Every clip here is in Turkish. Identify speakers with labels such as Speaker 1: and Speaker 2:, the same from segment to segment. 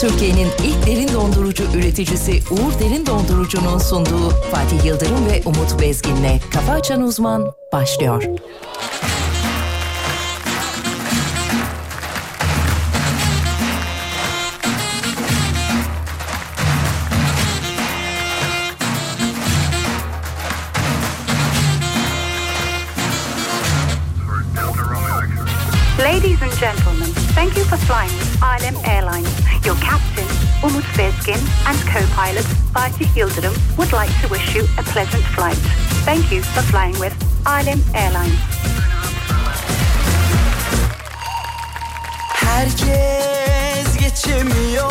Speaker 1: Türkiye'nin ilk derin dondurucu üreticisi Uğur Derin Dondurucu'nun sunduğu Fatih Yıldırım ve Umut Bezgin'le Kafa Açan Uzman başlıyor.
Speaker 2: Ladies and gentlemen, thank you for flying with Alem Airlines. Your captain, Umut Bezgin, and co-pilot, Fatih Yıldırım, would like to wish you a pleasant flight. Thank you for flying with Alem Airlines.
Speaker 3: Herkes geçemiyor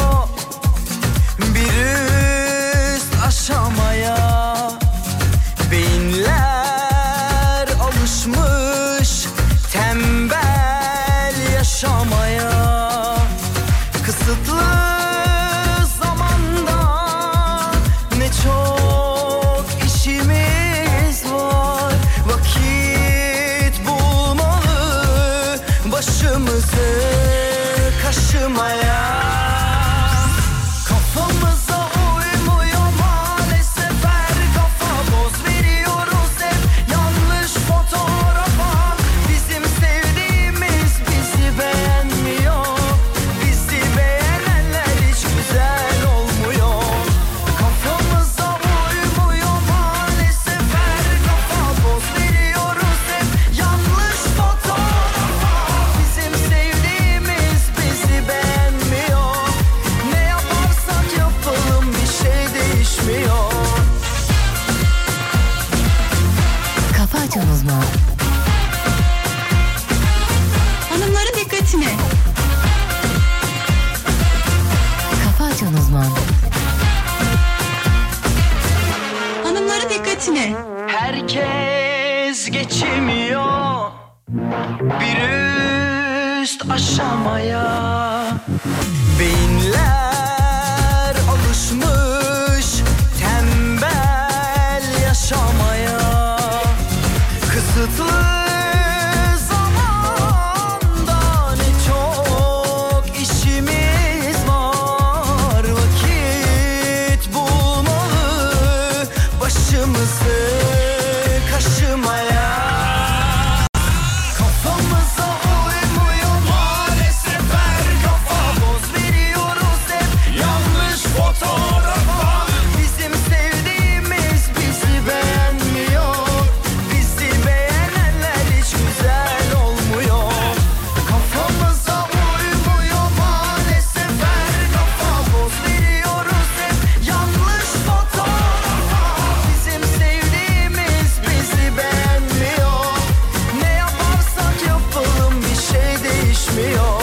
Speaker 3: bir üst aşamaya Beyinler alışmış tembel yaşamaya Kısıtlı zamanda ne çok işimiz var Vakit bulmalı başımızı kaşımaya Kafamıza uymuyor maalesef her kafa boz veriyoruz hep yanlış fotoğrafa Bizim sevdiğimiz bizi beğenmiyor Bizi beğenenler hiç güzel olmuyor Kafamıza uymuyor maalesef her kafa boz veriyoruz hep yanlış fotoğrafa Bizim sevdiğimiz bizi beğenmiyor Ne yaparsak yapalım bir şey değişmiyor
Speaker 1: Kafa Açan Uzman
Speaker 4: Hanımların dikkatine.
Speaker 1: Kafa Açan Uzman
Speaker 4: Hanımların dikkatine.
Speaker 3: Herkes geçemiyor bir üst aşamaya Beyinler alışmış tembel yaşamaya Kısıtlı zamanda ne çok işimiz var Vakit bulmalı başımızı kaşımaya Kafamıza uymuyor maalesef her kafa Boz veriyoruz hep yanlış fotoğrafa Bizim sevdiğimiz bizi beğenmiyor Bizi beğenenler hiç güzel olmuyor Kafamıza uymuyor maalesef her kafa Boz veriyoruz hep yanlış fotoğrafa Bizim sevdiğimiz bizi beğenmiyor ne yaparsak yapalım bir şey değişmiyor.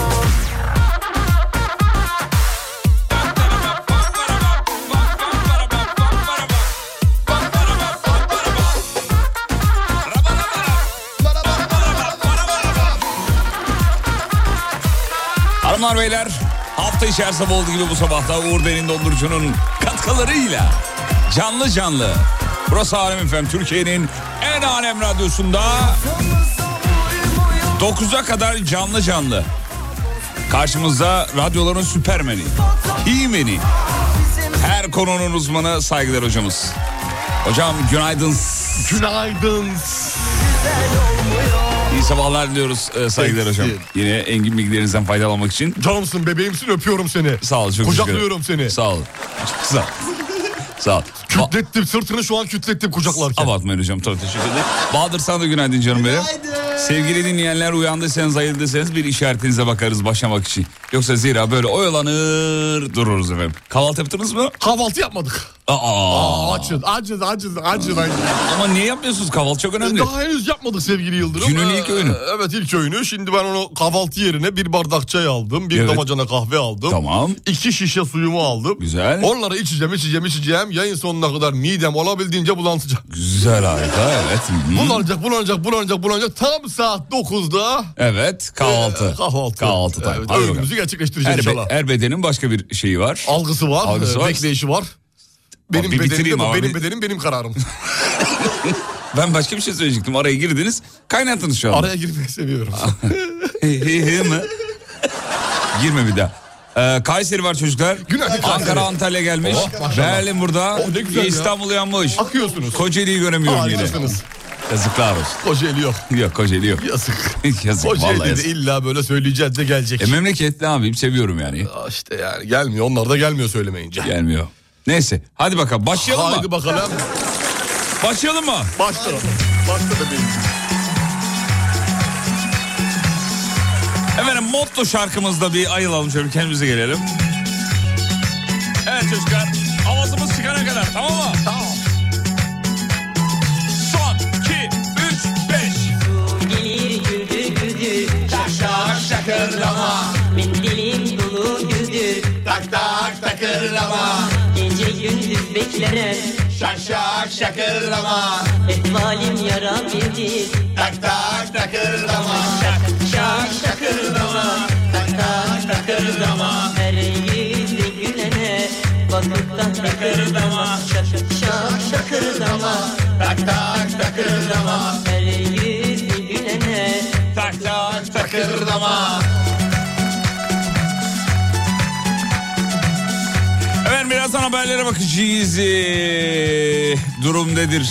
Speaker 5: Hanımlar beyler hafta içerisinde olduğu gibi bu sabahta Uğur Derin Dondurucu'nun katkılarıyla canlı canlı Burası Alem FM Türkiye'nin en alem radyosunda 9'a kadar canlı canlı karşımızda radyoların süpermeni, himeni, her konunun uzmanı saygılar hocamız. Hocam günaydın.
Speaker 6: Günaydın.
Speaker 5: İyi sabahlar diliyoruz e, saygılar hocam. Yine engin bilgilerinizden faydalanmak için
Speaker 6: Canımsın bebeğimsin öpüyorum seni.
Speaker 5: Sağ ol çok teşekkür ederim.
Speaker 6: Kucaklıyorum seni.
Speaker 5: Sağ ol. Sağ ol. Sağ ol. Ba-
Speaker 6: Kütlettim sırtını şu an kütlettim kucaklarken.
Speaker 5: Abartmayın hocam çok teşekkür ederim. Bahadır sana da günaydın canım benim. Sevgili dinleyenler uyandıysanız ayıldıysanız bir işaretinize bakarız başlamak için. Yoksa zira böyle oyalanır dururuz efendim. Kahvaltı yaptınız mı?
Speaker 6: Kahvaltı yapmadık.
Speaker 5: Aa.
Speaker 6: Aa, açız açız açız açız. açız.
Speaker 5: Ama niye yapmıyorsunuz? Kahvaltı çok önemli.
Speaker 6: Daha henüz yapmadık sevgili Yıldırım.
Speaker 5: Günün ilk öğünü.
Speaker 6: Ee, Evet ilk öğünü. Şimdi ben onu kahvaltı yerine bir bardak çay aldım. Bir
Speaker 5: Evet.
Speaker 6: damacana kahve aldım.
Speaker 5: Tamam.
Speaker 6: İki şişe suyumu aldım.
Speaker 5: Güzel.
Speaker 6: Onları içeceğim içeceğim içeceğim. Yayın sonuna kadar midem olabildiğince bulanacak.
Speaker 5: Güzel harika evet. Hı.
Speaker 6: Bulanacak bulanacak bulanacak bulanacak. Tam saat 9'da
Speaker 5: Evet kahvaltı.
Speaker 6: Ee, kahvaltı.
Speaker 5: Kahvaltı time.
Speaker 6: Evet,
Speaker 5: Hadi bakalım.
Speaker 6: öğünümüzü gerçekleştireceğiz
Speaker 5: Her, be-
Speaker 6: inşallah.
Speaker 5: her bedenin başka bir şeyi var.
Speaker 6: Algısı var,
Speaker 5: Algısı
Speaker 6: e,
Speaker 5: var.
Speaker 6: bekleyişi var. Benim
Speaker 5: bir bitireyim
Speaker 6: bedenim,
Speaker 5: abi.
Speaker 6: benim bedenim benim kararım.
Speaker 5: Ben başka bir şey söyleyecektim. Araya girdiniz. Kaynattınız şu anda.
Speaker 6: Araya girmeyi seviyorum.
Speaker 5: He he he mi? Girme bir daha. Ee, Kayseri var çocuklar.
Speaker 6: Günaydın Kayseri.
Speaker 5: Ankara Antalya gelmiş.
Speaker 6: Oh, maşallah.
Speaker 5: Berlin burada.
Speaker 6: Oh, ne güzel ya.
Speaker 5: İstanbul yanmış.
Speaker 6: Akıyorsunuz.
Speaker 5: Kocaeli'yi göremiyorum yine.
Speaker 6: Harikasınız.
Speaker 5: Yazıklar olsun.
Speaker 6: Kocaeli yok.
Speaker 5: Yok Kocaeli yok.
Speaker 6: Yazık.
Speaker 5: yazık vallahi
Speaker 6: Kocaeli de
Speaker 5: yazık.
Speaker 6: illa böyle söyleyeceğiz de gelecek.
Speaker 5: E, memleketli abim seviyorum yani.
Speaker 6: Aa, işte yani gelmiyor. Onlar da gelmiyor söylemeyince.
Speaker 5: Gelmiyor. Neyse hadi bakalım başlayalım
Speaker 6: Haydi
Speaker 5: mı?
Speaker 6: bakalım.
Speaker 5: Başlayalım mı?
Speaker 6: Başla. Başla bebeğim.
Speaker 5: Efendim motto şarkımızda bir ayılalım şöyle bir kendimize gelelim. Evet çocuklar avazımız çıkana kadar tamam mı? Tamam. Son 2, 3, 5.
Speaker 7: Gelir güdü güdü Şakşak şakırlama Mendilim dolu güdü
Speaker 3: Tak tak takırlama
Speaker 7: Gece gündüz beklere
Speaker 3: Şak şak şakırlama
Speaker 7: Etvalim yara bildi
Speaker 3: Tak tak takırlama
Speaker 7: Şak şakırlama Taktan şakırlama Her yüzde gülene Bakıp da şakırlama Şak şak şakırlama
Speaker 3: Tak tak takırlama
Speaker 7: Her yüzde gülene
Speaker 5: Tak tak tak.
Speaker 3: Takırlama
Speaker 5: Efendim birazdan haberlere bakacağız. Ee, durum nedir?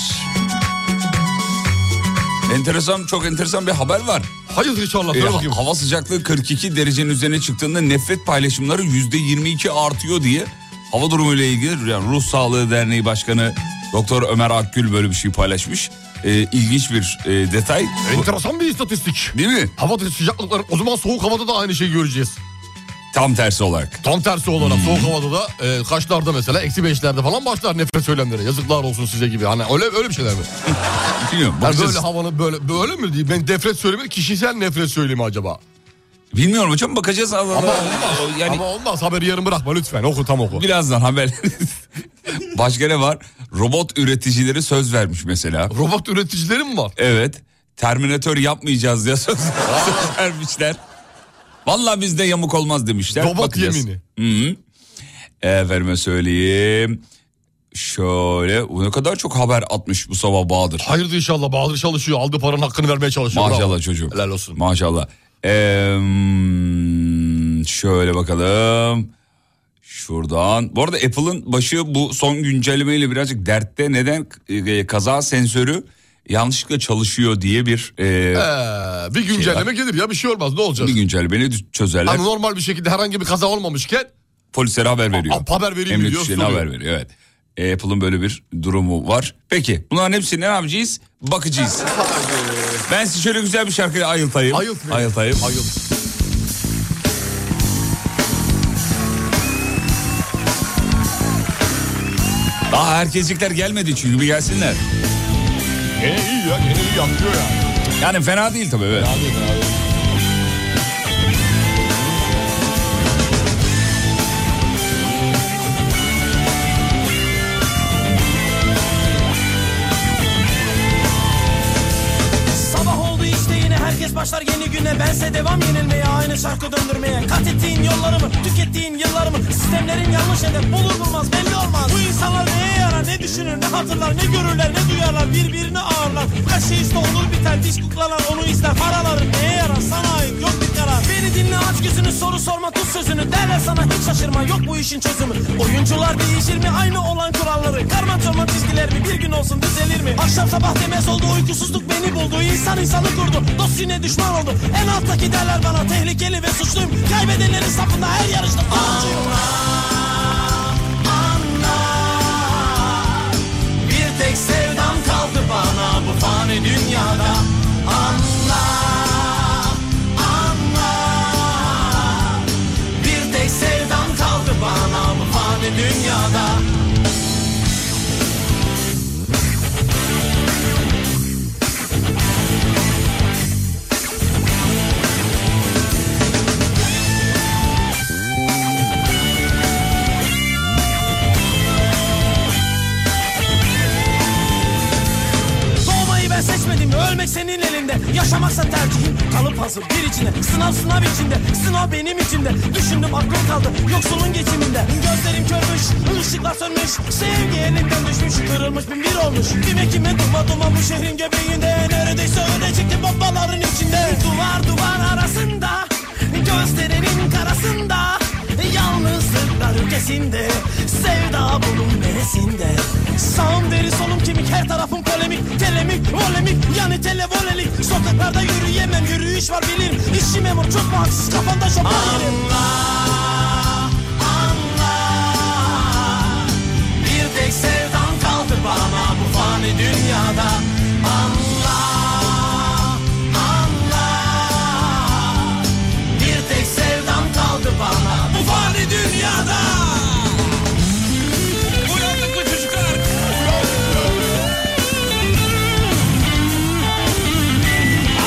Speaker 5: Enteresan çok enteresan bir haber var.
Speaker 6: Hayırdır inşallah.
Speaker 5: Ee,
Speaker 6: Söyle bakayım.
Speaker 5: hava sıcaklığı 42 derecenin üzerine çıktığında nefret paylaşımları %22 artıyor diye hava durumuyla ilgili yani Ruh Sağlığı Derneği Başkanı Doktor Ömer Akgül böyle bir şey paylaşmış. Ee, ilginç bir e, detay.
Speaker 6: Enteresan bir istatistik.
Speaker 5: Değil mi?
Speaker 6: Havada sıcaklıklar o zaman soğuk havada da aynı şeyi göreceğiz.
Speaker 5: Tam tersi olarak.
Speaker 6: Tam tersi olarak soğuk
Speaker 5: Hmm.
Speaker 6: havada da e, kaçlarda mesela eksi beşlerde falan başlar nefret söylemleri. Yazıklar olsun size gibi. Hani öyle öyle bir şeyler mi?
Speaker 5: Bilmiyorum.
Speaker 6: Yani
Speaker 5: bakacağız.
Speaker 6: böyle havanın böyle böyle mi diyeyim? Ben nefret söylemi kişisel nefret söylemi acaba?
Speaker 5: Bilmiyorum hocam bakacağız.
Speaker 6: Ama olmaz.
Speaker 5: Yani
Speaker 6: Ama olmaz. Haberi yarım bırakma lütfen. Oku tam oku.
Speaker 5: birazdan haber. Başka ne var? Robot üreticileri söz vermiş mesela.
Speaker 6: Robot üreticileri mi var?
Speaker 5: Evet. Terminatör yapmayacağız diye söz, söz vermişler. Vallahi bizde yamuk olmaz demişler.
Speaker 6: Robot
Speaker 5: Bakacağız.
Speaker 6: yemini.
Speaker 5: Hı hı. Efendime söyleyeyim. Şöyle o ne kadar çok haber atmış bu sabah Bahadır.
Speaker 6: Hayırdır inşallah. Bahadır çalışıyor. Aldığı paranın hakkını vermeye çalışıyor.
Speaker 5: Maşallah
Speaker 6: Bravo.
Speaker 5: çocuğum.
Speaker 6: Helal olsun.
Speaker 5: Maşallah. Ee, şöyle bakalım. Şuradan. Bu arada Apple'ın başı bu son güncellemeyle birazcık dertte. Neden E, kaza sensörü yanlışlıkla çalışıyor diye bir e,
Speaker 6: Ee, bir güncelleme gelir ya bir şey olmaz ne olacak?
Speaker 5: bir güncellemeyle dü- çözerler.
Speaker 6: Hani normal bir şekilde herhangi bir kaza olmamışken
Speaker 5: Polislere haber veriyor.
Speaker 6: a- haber veriyor,
Speaker 5: Emniyet
Speaker 6: diyor,
Speaker 5: güçlerine
Speaker 6: soruyor.
Speaker 5: haber veriyor evet. E, Apple'ın böyle bir durumu var. Peki bunların hepsini ne yapacağız? Bakacağız. ben sizi şöyle güzel bir şarkıyla ayıltayım.
Speaker 6: ayılt mı?
Speaker 5: Ayıltayım.
Speaker 6: Ayılt.
Speaker 5: Daha herkeslikler gelmedi çünkü bir gelsinler.
Speaker 6: Gene iyi ya gene iyi yapıyor ya.
Speaker 5: Yani fena değil tabii evet.
Speaker 6: Hadi hadi.
Speaker 8: Sabah oldu işte yine herkes başlar yeni güne Bense devam yenilmeye aynı şarkı döndürmeye Kat ettiğin yollarımı tükettiğin yıllarımı Sistemlerin yanlış eder bulur bulmaz belli olmaz Bu insanlar neye yarar ne düşünür ne hatırlar ne görürler ne duyarlar Birbirini ağırlar her şey işte olur biter diş kuklalar onu ister Paraların neye yarar sana ait yok bir karar Beni dinle aç gözünü soru sorma tut sözünü Derler sana hiç şaşırma yok bu işin çözümü Oyuncular değişir mi aynı olan kuralları Karma çorma çizgiler mi bir gün olsun düzelir mi Akşam sabah demez oldu uykusuzluk beni buldu İnsan insanı kurdu dost yine düşman oldu En alttaki derler bana tehlikeli ve suçluyum Kaybedenlerin safında her yarışta sonuncuyum Anla Bir tek sevdam kaldı bana bu fani dünyada Anla Anla Bir tek sevdam kaldı bana bu fani dünyada Doğmayı ben seçmedim ölmek senin elinde Yaşamaksa tercihim kalıp hazır bir içinde Sınav sınav içinde sınav benim içimde Düşündüm aklım kaldı yoksulun geçiminde Gözlerim körmüş ışıklar sönmüş Sevgi elimden düşmüş kırılmış bin bir olmuş Kime kime duma duma bu şehrin göbeğinde Neredeyse ölecektim babaların içinde Duvar duvar arasında Gözlerinin karasında Yan neresinde Sevda bunun neresinde Sağım deri solum kemik her tarafım polemik Telemik volemik yani televolelik Sokaklarda yürüyemem yürüyüş var bilirim İşçi memur çok mu haksız kafanda şopar yerim Bir tek sevdan kaldı bana bu fani dünyada Anla, anla Bir tek sevdan kaldı bana bu fani Hani dünyada
Speaker 5: Uyandık mı çocuklar?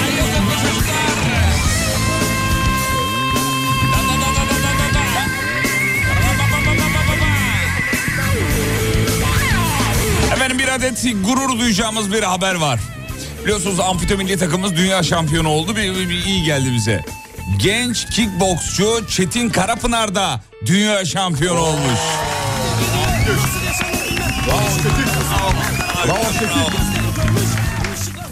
Speaker 5: Ayrıldık mı çocuklar? Da da da da da da da da. Ba ba ba ba ba ba ba. Efendim bir adet gurur duyacağımız bir haber var. Biliyorsunuz amfite milli takımımız dünya şampiyonu oldu. Bir, bir- bir iyi geldi bize. Genç kickboksçu Çetin Karapınar da dünya şampiyonu olmuş.
Speaker 6: Bravo Çetin.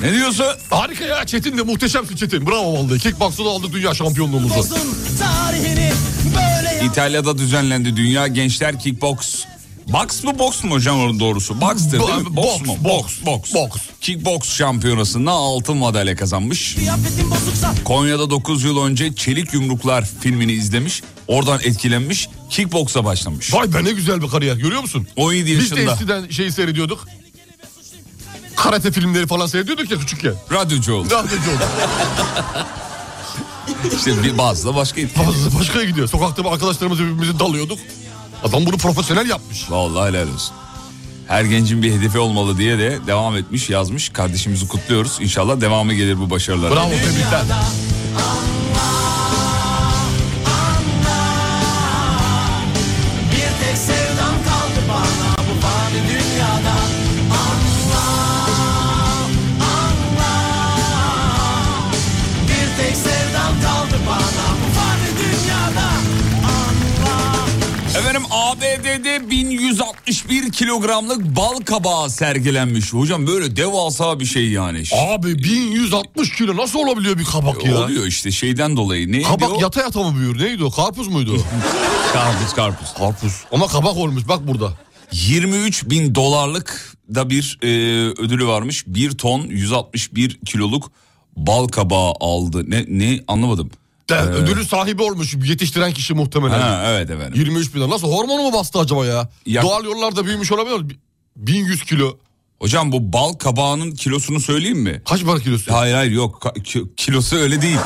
Speaker 5: Ne diyorsun?
Speaker 6: Harika ya Çetin de muhteşemsin Çetin. Bravo vallahi. Kickbox'ta da aldı dünya şampiyonluğumuzu.
Speaker 8: Uzun tarihini böyle yap-
Speaker 5: İtalya'da düzenlendi Dünya Gençler Kickbox. Box mu boks mu hocam onun doğrusu? Box'tır değil mi?
Speaker 6: Bo-
Speaker 5: Boks
Speaker 6: boks,
Speaker 5: mu? Boks, boks.
Speaker 6: boks.
Speaker 5: Kickbox şampiyonasında altın madalya kazanmış.
Speaker 8: Kıyafetin bozuksa
Speaker 5: Konya'da 9 yıl önce Çelik Yumruklar filmini izlemiş. Oradan etkilenmiş. Kickboksa başlamış.
Speaker 6: Vay be ne güzel bir kariyer görüyor musun?
Speaker 5: 17
Speaker 6: Biz de
Speaker 5: yaşında
Speaker 6: eskiden şeyi seyrediyorduk. Karate filmleri falan seyrediyorduk ya küçükken.
Speaker 5: radyocu oldu.
Speaker 6: Daha önce oldu.
Speaker 5: İşte bir bazı da başka etki.
Speaker 6: Bazısı başkaya gidiyor. Sokakta bir arkadaşlarımızla birbirimize dalıyorduk. Adam bunu profesyonel yapmış.
Speaker 5: Vallahi helal olsun. Her gencin bir hedefi olmalı diye de devam etmiş yazmış. Kardeşimizi kutluyoruz. İnşallah devamı gelir bu başarılara.
Speaker 6: Bravo tebrikler.
Speaker 8: Bir tek sevdan kaldı bana bu fani dünyada Anla, anla Bir tek sevdan kaldı bana bu fani dünyada Anla
Speaker 5: Efendim ABD'de 1161 kilogramlık bal kabağı sergilenmiş. Hocam böyle devasa bir şey yani. Ş-
Speaker 6: Abi 1160 kilo nasıl olabiliyor bir kabak ya?
Speaker 5: Oluyor işte şeyden dolayı. Neydi o?
Speaker 6: Kabak yata yata mı büyür? Neydi o? Karpuz muydu o?
Speaker 5: Karpuz karpuz.
Speaker 6: Karpuz. Ama kabak olmuş bak burada.
Speaker 5: 23 bin dolarlık da bir e, ödülü varmış. 1 ton 161 kiloluk bal kabağı aldı. Ne, ne anlamadım.
Speaker 6: De, Ödülün sahibi olmuş yetiştiren kişi muhtemelen.
Speaker 5: Ha, evet efendim.
Speaker 6: 23 bin lira. Nasıl hormonu mu bastı acaba ya?
Speaker 5: Ya-
Speaker 6: Doğal yollarda büyümüş olabilir mi? 1100 kilo.
Speaker 5: Hocam bu bal kabağının kilosunu söyleyeyim mi?
Speaker 6: Kaç para kilosu?
Speaker 5: Hayır hayır yok Ka- ki- kilosu öyle değil.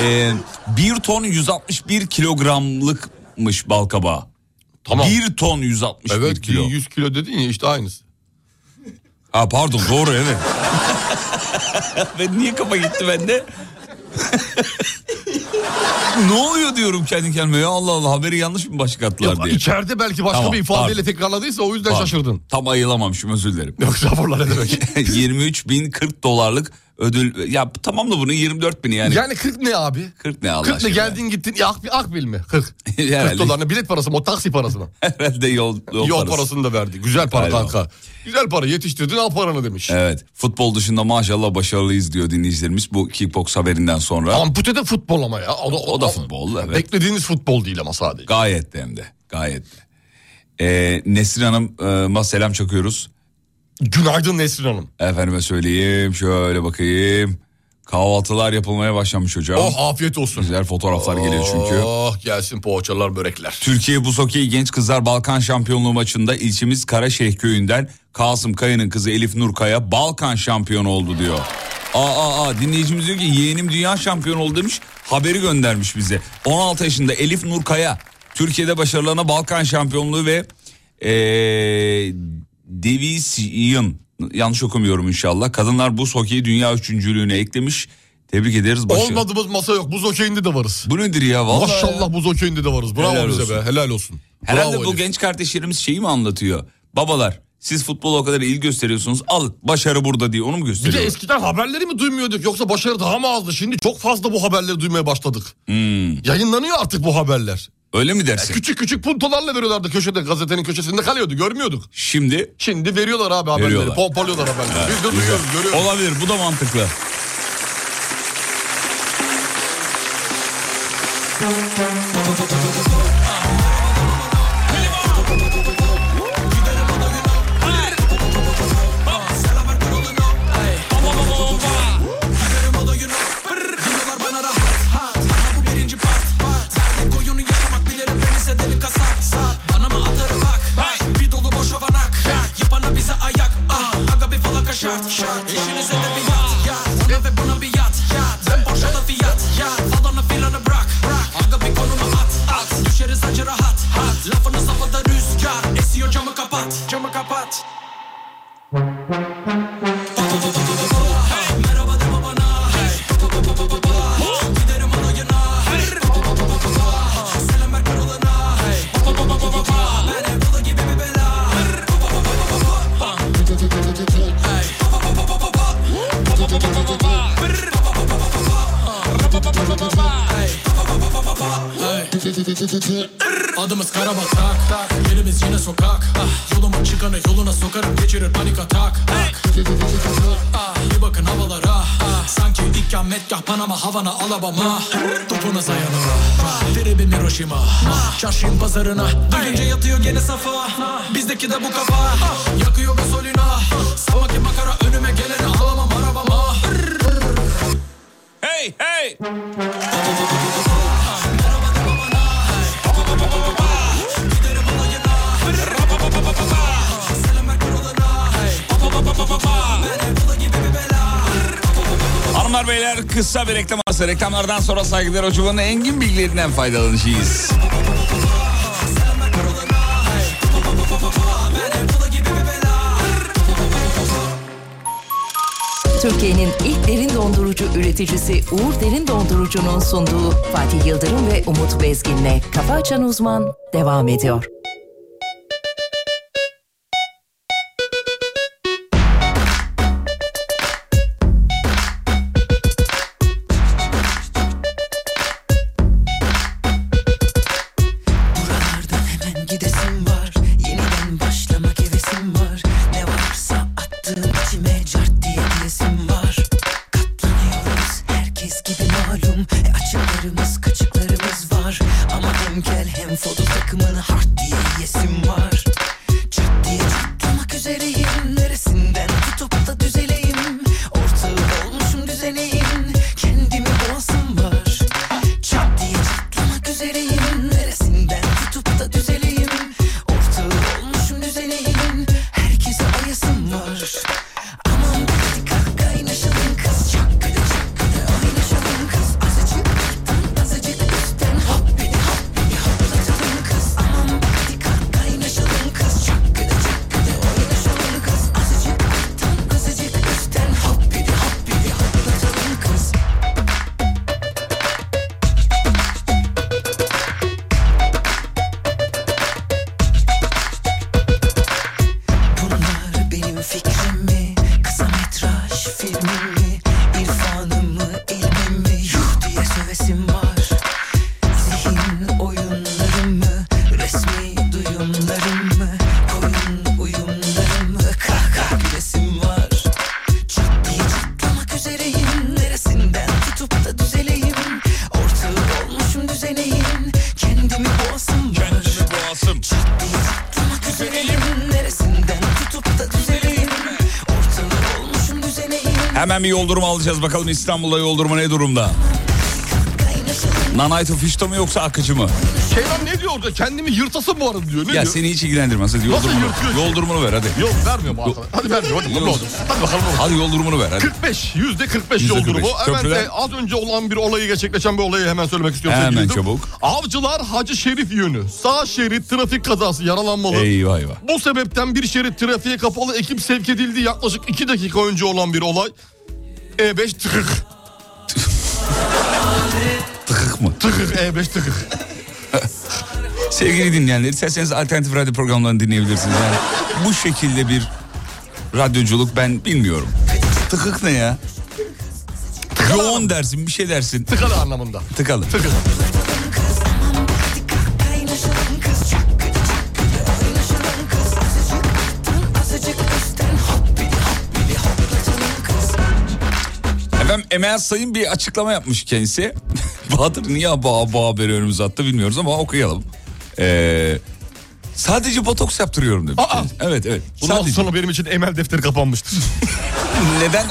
Speaker 5: Ee, 1 ton 161 kilogramlıkmış bal kabağı.
Speaker 6: Tamam.
Speaker 5: 1 ton 161
Speaker 6: evet
Speaker 5: kilo.
Speaker 6: 100 kilo dedin ya işte aynısı.
Speaker 5: Ha pardon doğru evet. ben niye kafa gitti bende? ne oluyor diyorum kendi kendime ya Allah Allah haberi yanlış mı başkattılar diye.
Speaker 6: İçeride belki başka
Speaker 5: Tamam,
Speaker 6: bir ifadeyle
Speaker 5: pardon.
Speaker 6: tekrarladıysa o yüzden
Speaker 5: Pardon.
Speaker 6: şaşırdın.
Speaker 5: Tam ayılamamışım özür dilerim.
Speaker 6: Yok raporlar ne demek?
Speaker 5: 23.040 dolarlık ödül ya tamam da bunu 24 bin yani.
Speaker 6: yani 40 ne abi?
Speaker 5: 40 ne Allah
Speaker 6: 40 ne
Speaker 5: aşkına ya.
Speaker 6: geldin gittin ya ak, akbil mi? 40. 40
Speaker 5: Herhalde.
Speaker 6: dolarına bilet parası mı o taksi parası mı?
Speaker 5: Herhalde yol, yol,
Speaker 6: Yol
Speaker 5: parası.
Speaker 6: parasını da verdi. Güzel para
Speaker 5: Galiba.
Speaker 6: kanka. Güzel para yetiştirdin al paranı demiş.
Speaker 5: Evet. Futbol dışında maşallah başarılıyız diyor dinleyicilerimiz bu kickbox haberinden sonra.
Speaker 6: Ampute de futbol ama ya. O da,
Speaker 5: O da futbol, evet.
Speaker 6: Beklediğiniz futbol değil ama sadece.
Speaker 5: Gayet de hem de. Gayet de. Ee, Nesrin Hanım'a selam çakıyoruz.
Speaker 6: Günaydın Nesrin Hanım.
Speaker 5: Efendime söyleyeyim şöyle bakayım. Kahvaltılar yapılmaya başlamış hocam.
Speaker 6: Oh afiyet olsun.
Speaker 5: Güzel fotoğraflar geliyor çünkü.
Speaker 6: Oh gelsin poğaçalar börekler.
Speaker 5: Türkiye Buz Hokeyi Genç Kızlar Balkan Şampiyonluğu maçında ilçemiz Karaşehir köyünden Kasım Kaya'nın kızı Elif Nurkaya Balkan şampiyonu oldu diyor. Aa, aa, aa dinleyicimiz diyor ki yeğenim dünya şampiyonu oldu demiş haberi göndermiş bize. 16 yaşında Elif Nurkaya Türkiye'de başarılarına Balkan şampiyonluğu ve ee, Division yanlış okumuyorum inşallah. Kadınlar buz hokeyi dünya üçüncülüğüne eklemiş. Tebrik ederiz. Başı...
Speaker 6: Olmadığımız masa yok. Buz okeyinde de varız.
Speaker 5: Bu nedir ya? Vallahi
Speaker 6: Maşallah buz okeyinde de varız. Bravo
Speaker 5: Helal
Speaker 6: bize
Speaker 5: olsun.
Speaker 6: be. Helal olsun.
Speaker 5: Herhalde
Speaker 6: Bravo
Speaker 5: bu
Speaker 6: Elif.
Speaker 5: genç kardeşlerimiz şeyi mi anlatıyor? Babalar siz futbola o kadar ilgi gösteriyorsunuz al başarı burada diye onu mu
Speaker 6: Bir de
Speaker 5: gösteriyor?
Speaker 6: eskiden haberleri mi duymuyorduk yoksa başarı daha mı azdı? Şimdi çok fazla bu haberleri duymaya başladık.
Speaker 5: Hmm.
Speaker 6: Yayınlanıyor artık bu haberler.
Speaker 5: Öyle mi dersin?
Speaker 6: Küçük küçük puntolarla veriyorlardı köşede gazetenin köşesinde kalıyordu görmüyorduk.
Speaker 5: Şimdi
Speaker 6: Şimdi veriyorlar abi haberleri
Speaker 5: Veriyorlar.
Speaker 6: pompalıyorlar haberleri. Biz de duyuyoruz görüyoruz.
Speaker 5: olabilir bu da mantıklı.
Speaker 9: rahat hat Lafınız havada rüzgar Esiyor camı kapat Camı kapat
Speaker 10: Adımız Karabak tak tak Yerimiz yine sokak ah. Yoluma çıkanı yoluna sokarım Geçirir panik atak tak. ah. İyi bakın havalara ah. Sanki ikametgah Panama Havana Alabama Topuna sayanıma Tribim Hiroşima Çarşıyım pazarına Duyunca yatıyor gene safa Bizdeki de bu kafa ah. Yakıyor gasolina Sabahki makara önüme geleni Alamam arabama
Speaker 5: Hey hey Hanımlar beyler kısa bir reklam arası. Reklamlardan sonra saygılar hocamanın engin bilgilerinden faydalanacağız.
Speaker 1: Türkiye'nin ilk derin dondurucu üreticisi Uğur Derin Dondurucu'nun sunduğu Fatih Yıldırım ve Umut Bezgin'le Kafa Açan Uzman devam ediyor.
Speaker 11: Gidesim var Yeniden başlamak hevesim var Ne varsa attığım içime Cart diye diyesim var Katlanıyoruz herkes gibi malum e Açıklarımız kaçıklarımız var Ama hem kel hem foto takımını Hard diye yesim var Çat diye çatlamak üzereyim Neresinden tutup da düzeleyim Ortağı olmuşum düzeneyim Kendimi boğasım var Çat diye çatlamak üzereyim Neresinden tutup da düzeleyim Ortağı olmuşum düzeneyim Herkese ayasım var Aman hadi kalk kaynaşalım kız Çakkıda çakkıda oynaşalım kız Azıcık alttan azıcık üstten Hop beni hop beni hoplatalım kız Aman hadi kalk kaynaşalım kız Çakkıda çakkıda oynaşalım kız Azıcık alttan azıcık üstten Hop beni hop beni hoplatalım kız Bunlar benim fikrim mi? Kısa metraj filmim mi? İrfanım mı, ilmim mi? Yuh diye sövesim var Zihin oyunlarım mı? Resmi duyumlarım mı? Koyun uyumlarım mı? Kahkaha gülesim var Çat diye çatlamak üzereyim Neresinden tutup da düzeleyim Ortağı olmuşum düzeneyim Kendimi boğasım var Kendimi
Speaker 5: boğasım
Speaker 11: Çat diye çatlamak üzereyim Neresinden tutup da düzeleyim Ortağı olmuşum düzeneyim
Speaker 5: Hemen bir yoldurma alacağız bakalım İstanbul'da yoldurma ne durumda? Nanay Fişto mu yoksa akıcı mı?
Speaker 6: Şeytan ne diyor orada? Kendimi yırtasın bu arada diyor. Ne
Speaker 5: ya
Speaker 6: diyor?
Speaker 5: seni hiç ilgilendirmez.
Speaker 6: Nasıl
Speaker 5: Hadi yoldurumunu,
Speaker 6: yırtıyor ki?
Speaker 5: yoldurumunu ver hadi.
Speaker 6: Yok vermiyorum abi. Hadi vermiyorum. Hadi,
Speaker 5: Yok.
Speaker 6: bakalım. hadi bakalım.
Speaker 5: Hadi yoldurumunu ver hadi.
Speaker 6: 45, yüzde 45
Speaker 5: Yüzde
Speaker 6: yoldur
Speaker 5: 45.
Speaker 6: bu. Hemen
Speaker 5: Köprüler-
Speaker 6: de az önce olan bir olayı gerçekleşen bir olayı hemen söylemek istiyorum.
Speaker 5: Hemen
Speaker 6: sevgili Yıldırım.
Speaker 5: çabuk.
Speaker 6: Avcılar Hacı Şerif yönü. Sağ şerit trafik kazası yaralanmalı.
Speaker 5: Eyvah eyvah.
Speaker 6: Bu sebepten bir şerit trafiğe kapalı ekip sevk edildi. Yaklaşık 2 dakika önce olan bir olay. E5 tıkık.
Speaker 5: Tıkık mı?
Speaker 6: Tıkık E5 tıkık.
Speaker 5: Sevgili dinleyenler isterseniz alternatif radyo programlarını dinleyebilirsiniz. Yani bu şekilde bir radyoculuk ben bilmiyorum. Tıkık ne ya? Yoğun dersin bir şey dersin.
Speaker 6: Tıkalı anlamında.
Speaker 5: Tıkalı.
Speaker 6: Tıkık.
Speaker 11: Kaynaşalım kız Çakkıda çakkıda oynaşalım kız Azıcık alttan azıcık üstten Hop beni hop beni hoplatalım kız
Speaker 5: Efendim Emel Sayın bir açıklama yapmış kendisi. Bahadır niye bağ bağ haberi önümüze attı bilmiyoruz ama okuyalım. Ee, sadece botoks yaptırıyorum demiş.
Speaker 6: Aa!
Speaker 5: Evet evet.
Speaker 6: Bundan
Speaker 5: Sadece.
Speaker 6: sonra benim için emel defteri kapanmıştır.
Speaker 5: Neden?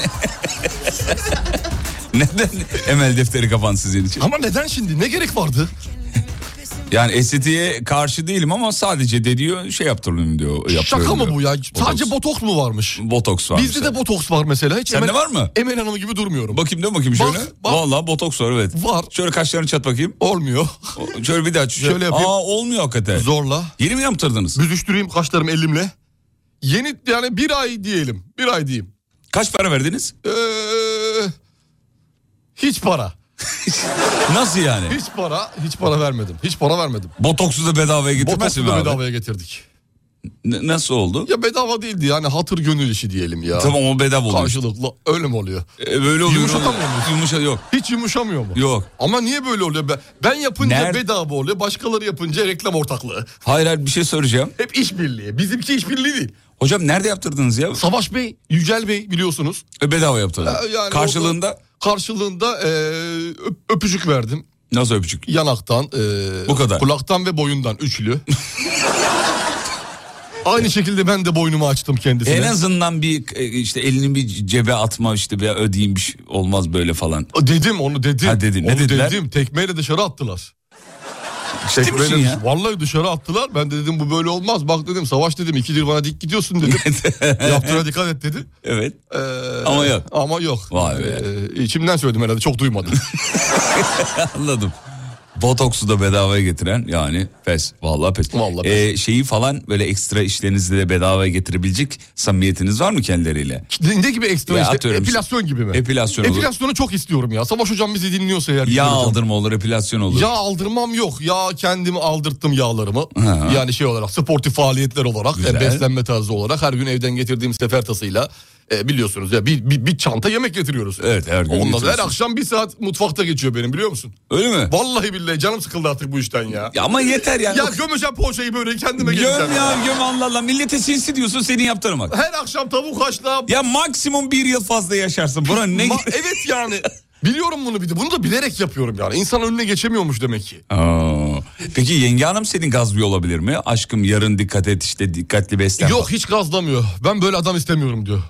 Speaker 5: Neden Emel defteri kapan sizin için?
Speaker 6: Ama neden şimdi? Ne gerek vardı?
Speaker 5: Yani estetiğe karşı değilim ama sadece de diyor şey yaptırıyorum diyor.
Speaker 6: Şaka
Speaker 5: yaptırıyorum
Speaker 6: mı
Speaker 5: diyor.
Speaker 6: bu ya? Sadece botoks mu varmış?
Speaker 5: Botoks var.
Speaker 6: Bizde de botoks var mesela. Hiç
Speaker 5: Sende
Speaker 6: Emel-
Speaker 5: var mı?
Speaker 6: Emel Hanım gibi durmuyorum.
Speaker 5: Bakayım dön bakayım şöyle. Vallahi botoks var evet.
Speaker 6: Var.
Speaker 5: Şöyle kaşlarını çat bakayım.
Speaker 6: Olmuyor.
Speaker 5: Şöyle bir daha şöyle,
Speaker 6: Şöyle yapayım.
Speaker 5: Aa olmuyor hakikaten.
Speaker 6: Zorla.
Speaker 5: Yeni mi yaptırdınız?
Speaker 6: Büzüştüreyim kaşlarımı elimle. Yeni yani bir ay diyelim. Bir ay diyeyim.
Speaker 5: Kaç para verdiniz?
Speaker 6: Ee, hiç para.
Speaker 5: Nasıl yani?
Speaker 6: Hiç para, hiç para vermedim. Hiç para vermedim.
Speaker 5: Botoksu da bedavaya getirmezsin mi
Speaker 6: Botoksu da
Speaker 5: abi?
Speaker 6: bedavaya getirdik.
Speaker 5: N- nasıl oldu?
Speaker 6: Ya bedava değildi yani hatır gönül işi diyelim ya.
Speaker 5: Tamam o bedava oluyor.
Speaker 6: Karşılıklı öyle mi oluyor?
Speaker 5: E, böyle oluyor.
Speaker 6: Yumuşatamıyor musun?
Speaker 5: Yumuşa yok.
Speaker 6: Hiç yumuşamıyor mu?
Speaker 5: Yok.
Speaker 6: Ama niye böyle oluyor? Ben, ben yapınca
Speaker 5: Ner-
Speaker 6: bedava oluyor. Başkaları yapınca reklam ortaklığı.
Speaker 5: Hayır hayır bir şey soracağım.
Speaker 6: Hep işbirliği. Bizimki işbirliği değil.
Speaker 5: Hocam nerede yaptırdınız ya?
Speaker 6: Savaş Bey, Yücel Bey biliyorsunuz.
Speaker 5: E, bedava yaptırdım.
Speaker 6: Ya- Ee, yani
Speaker 5: Karşılığında
Speaker 6: orada- karşılığında e, öp- öpücük verdim.
Speaker 5: nasıl öpücük?
Speaker 6: Yanaktan, e,
Speaker 5: Bu kadar.
Speaker 6: kulaktan ve boyundan üçlü. Aynı şekilde ben de boynumu açtım kendisine.
Speaker 5: En azından bir e, işte elini bir cebe atma işte bir ödeyeyim bir şey olmaz böyle falan.
Speaker 6: Dedim onu dedim.
Speaker 5: Ha, dedin. Ne
Speaker 6: Onu
Speaker 5: dediler?
Speaker 6: dedim. Tekmeyle dışarı attılar.
Speaker 5: Ciddi misin
Speaker 6: Tekmeyle-
Speaker 5: ya?
Speaker 6: Vallahi dışarı attılar. Ben de dedim bu böyle olmaz. Bak dedim savaş dedim. ikidir bana dik gidiyorsun dedim. Yaptığına dikkat et dedim.
Speaker 5: Evet.
Speaker 6: Ee,
Speaker 5: Ama yok.
Speaker 6: Ama yok.
Speaker 5: Vay be.
Speaker 6: Ee, içimden söyledim herhalde. Çok duymadım.
Speaker 5: Anladım. Botoksu da bedavaya getiren yani pes. Vallahi pes. Ee, şeyi falan böyle ekstra işlerinizde de bedavaya getirebilecek samimiyetiniz var mı kendileriyle?
Speaker 6: ne ne gibi ekstra
Speaker 5: Ya
Speaker 6: işte?
Speaker 5: atıyorum işte.
Speaker 6: Epilasyon gibi mi?
Speaker 5: Epilasyon olur.
Speaker 6: Epilasyonu çok istiyorum ya. Savaş hocam bizi dinliyorsa eğer.
Speaker 5: Yağ
Speaker 6: hocam.
Speaker 5: aldırma olur, epilasyon olur.
Speaker 6: Yağ aldırmam yok. Yağ kendimi aldırttım yağlarımı.
Speaker 5: Ha.
Speaker 6: Yani şey olarak sportif faaliyetler olarak,
Speaker 5: Güzel.
Speaker 6: e, beslenme tarzı olarak her gün evden getirdiğim sefer tasıyla e, biliyorsunuz ya bir, bir, bir çanta yemek getiriyoruz.
Speaker 5: Evet her gün
Speaker 6: Ondan sonra her
Speaker 5: getiriyorsun.
Speaker 6: akşam bir saat mutfakta geçiyor benim biliyor musun?
Speaker 5: Öyle mi?
Speaker 6: Vallahi billahi canım sıkıldı artık bu işten ya.
Speaker 5: Ya ama yeter yani.
Speaker 6: Ya gömeceğim poğaçayı böyle kendime
Speaker 5: Göm
Speaker 6: getireceğim.
Speaker 5: ya göm Allah Allah. Millete sinsi diyorsun seni yaptırmak.
Speaker 6: Her akşam tavuk haşla.
Speaker 5: Ya maksimum bir yıl fazla yaşarsın. Buna ne...
Speaker 6: Ma- evet yani. Biliyorum bunu bir de. Bunu da bilerek yapıyorum yani. İnsan önüne geçemiyormuş demek ki.
Speaker 5: Aa. Peki yenge hanım senin gazlıyor olabilir mi? Aşkım yarın dikkat et işte dikkatli beslen.
Speaker 6: Yok hiç gazlamıyor. Ben böyle adam istemiyorum diyor.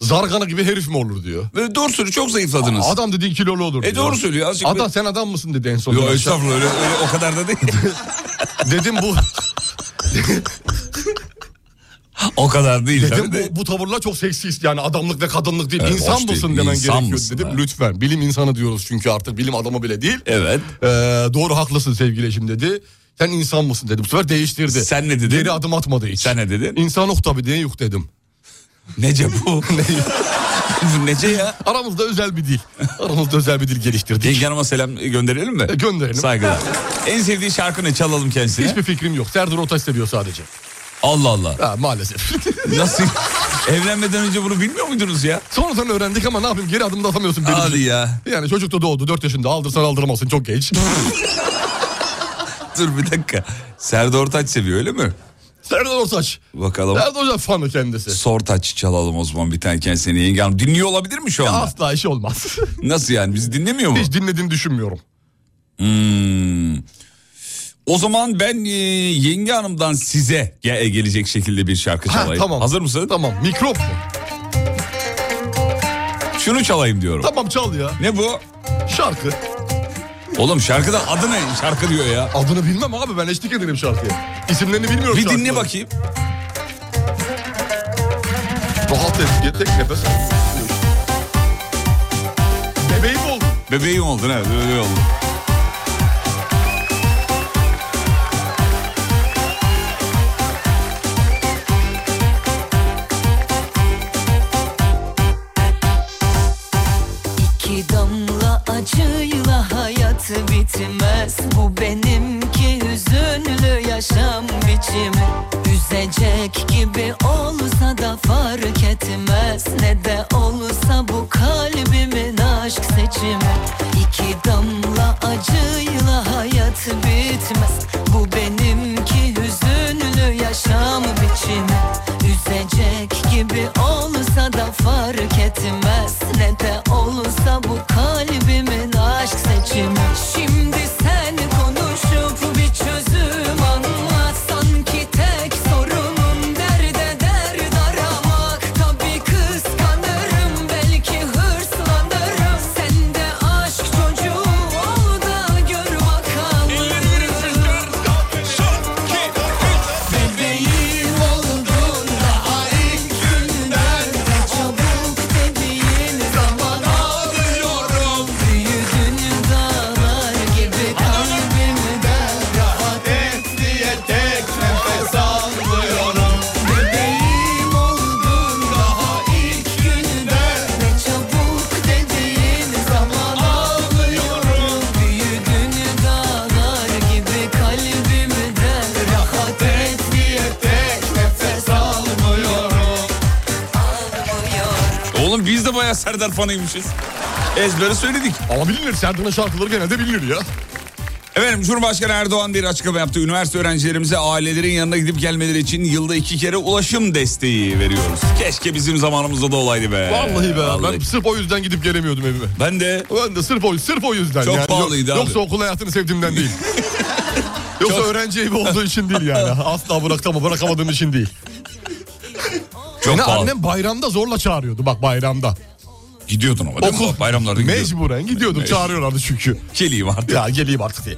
Speaker 6: Zargana gibi herif mi olur diyor.
Speaker 5: Ve Doğru söylüyor çok zayıfladınız.
Speaker 6: Adam dediğin kilolu olur.
Speaker 5: E
Speaker 6: diyor.
Speaker 5: doğru söylüyor. Azıcık
Speaker 6: Adam
Speaker 5: bir-
Speaker 6: sen adam mısın dedi en son.
Speaker 5: Yok
Speaker 6: Akşam.
Speaker 5: estağfurullah öyle, öyle o kadar da değil.
Speaker 6: Dedim bu
Speaker 5: o kadar değil
Speaker 6: dedim
Speaker 5: tabii de.
Speaker 6: bu, bu tavırlar çok seksist yani adamlık ve kadınlık değil.
Speaker 5: Evet, hoş
Speaker 6: İnsan
Speaker 5: değil,
Speaker 6: mısın demen
Speaker 5: insan
Speaker 6: gerekiyor
Speaker 5: mısın,
Speaker 6: dedim.
Speaker 5: ha.
Speaker 6: Lütfen bilim insanı diyoruz çünkü artık bilim adamı bile değil.
Speaker 5: Evet.
Speaker 6: Ee, doğru haklısın sevgili eşim dedi. Sen insan mısın dedi. Bu sefer değiştirdi.
Speaker 5: Sen ne dedin?
Speaker 6: Geri adım atmadı hiç.
Speaker 5: Sen ne dedin?
Speaker 6: İnsan ok tabii diye yuk dedim.
Speaker 5: Nece bu? bu nece ya?
Speaker 6: Aramızda özel bir dil. Aramızda özel bir dil geliştirdik.
Speaker 5: Yenge hanıma selam gönderelim mi?
Speaker 6: E, gönderelim.
Speaker 5: Saygılar. en sevdiği şarkını çalalım kendisine.
Speaker 6: Hiçbir fikrim yok. Serdar Ortaç seviyor sadece.
Speaker 5: Allah Allah.
Speaker 6: Ha, maalesef.
Speaker 5: Nasıl? Evlenmeden önce bunu bilmiyor muydunuz ya?
Speaker 6: Sonradan öğrendik ama ne yapayım geri adım da atamıyorsun. benim
Speaker 5: Hadi
Speaker 6: için.
Speaker 5: ya.
Speaker 6: Yani çocuk da doğdu 4 yaşında aldırsan aldırmasın çok geç.
Speaker 5: Dur bir dakika. Serdar Ortaç seviyor öyle mi?
Speaker 6: Serdar Ortaç.
Speaker 5: Bakalım.
Speaker 6: Serdar Ortaç fanı kendisi.
Speaker 5: Sortaç çalalım o zaman bir tane kendisine yenge hanım. Dinliyor olabilir mi şu anda?
Speaker 6: Asla işi olmaz.
Speaker 5: Nasıl yani bizi dinlemiyor mu?
Speaker 6: Hiç dinlediğini düşünmüyorum.
Speaker 5: Hmm. O zaman ben e, yenge hanımdan size ge- gelecek şekilde bir şarkı
Speaker 6: Ha,
Speaker 5: çalayım.
Speaker 6: tamam.
Speaker 5: Hazır mısın?
Speaker 6: Tamam mikrop mu?
Speaker 5: Şunu çalayım diyorum.
Speaker 6: Tamam çal ya.
Speaker 5: Ne bu?
Speaker 6: Şarkı.
Speaker 5: Oğlum şarkıda adı ne? Şarkı diyor ya.
Speaker 6: Adını bilmem abi ben eşlik ederim şarkıya. İsimlerini bilmiyorum
Speaker 5: Bir
Speaker 6: şarkıların.
Speaker 5: dinle bakayım.
Speaker 6: Rahat et. ye- Tek nefes. Bebeğim oldu.
Speaker 5: Bebeğim oldun evet öyle oldu.
Speaker 3: İki damla acıyla hayat bitmez Bu benimki hüzünlü yaşam biçimi Üzecek gibi olsa da fark etmez Ne de olsa bu kalbimin aşk seçimi İki damla acıyla hayat bitmez Bu benimki hüzünlü yaşam biçimi Üzecek gibi olsa da fark etmez Ne de olsa bu kalbimin aşk seçimi Şimdi sen konuşup bir çözüm anlat Sanki tek sorunun derde derd aramak Tabii kıskanırım belki hırslanırım Sen de aşk çocuğu ol da gör bakalım
Speaker 5: bayağı Serdar fanıymışız. Ezberi söyledik.
Speaker 6: Ama bilinir Serdar'ın şarkıları genelde bilinir ya.
Speaker 5: Efendim Cumhurbaşkanı Erdoğan bir açıklama yaptı. Üniversite öğrencilerimize ailelerin yanına gidip gelmeleri için yılda iki kere ulaşım desteği veriyoruz. Keşke bizim zamanımızda da olaydı be.
Speaker 6: Vallahi be ben
Speaker 5: Ee, Vallahi.
Speaker 6: sırf o yüzden gidip gelemiyordum evime.
Speaker 5: Ben de.
Speaker 6: Ben de sırf o, sırf o yüzden.
Speaker 5: Çok
Speaker 6: yani.
Speaker 5: pahalıydı abi.
Speaker 6: Yoksa okul hayatını sevdiğimden değil. Yoksa öğrenci evi olduğu için değil yani. Asla bıraktım bırakamadığım için değil.
Speaker 5: Çok
Speaker 6: Beni
Speaker 5: pahalı.
Speaker 6: annem bayramda zorla çağırıyordu bak bayramda.
Speaker 5: Gidiyordun ama değil mi?
Speaker 6: Okul.
Speaker 5: Bayramlarda gidiyordun.
Speaker 6: Mecburen gidiyordum
Speaker 5: Mec-
Speaker 6: çağırıyorlardı çünkü.
Speaker 5: Geleyim artık.
Speaker 6: Ya geleyim artık diye.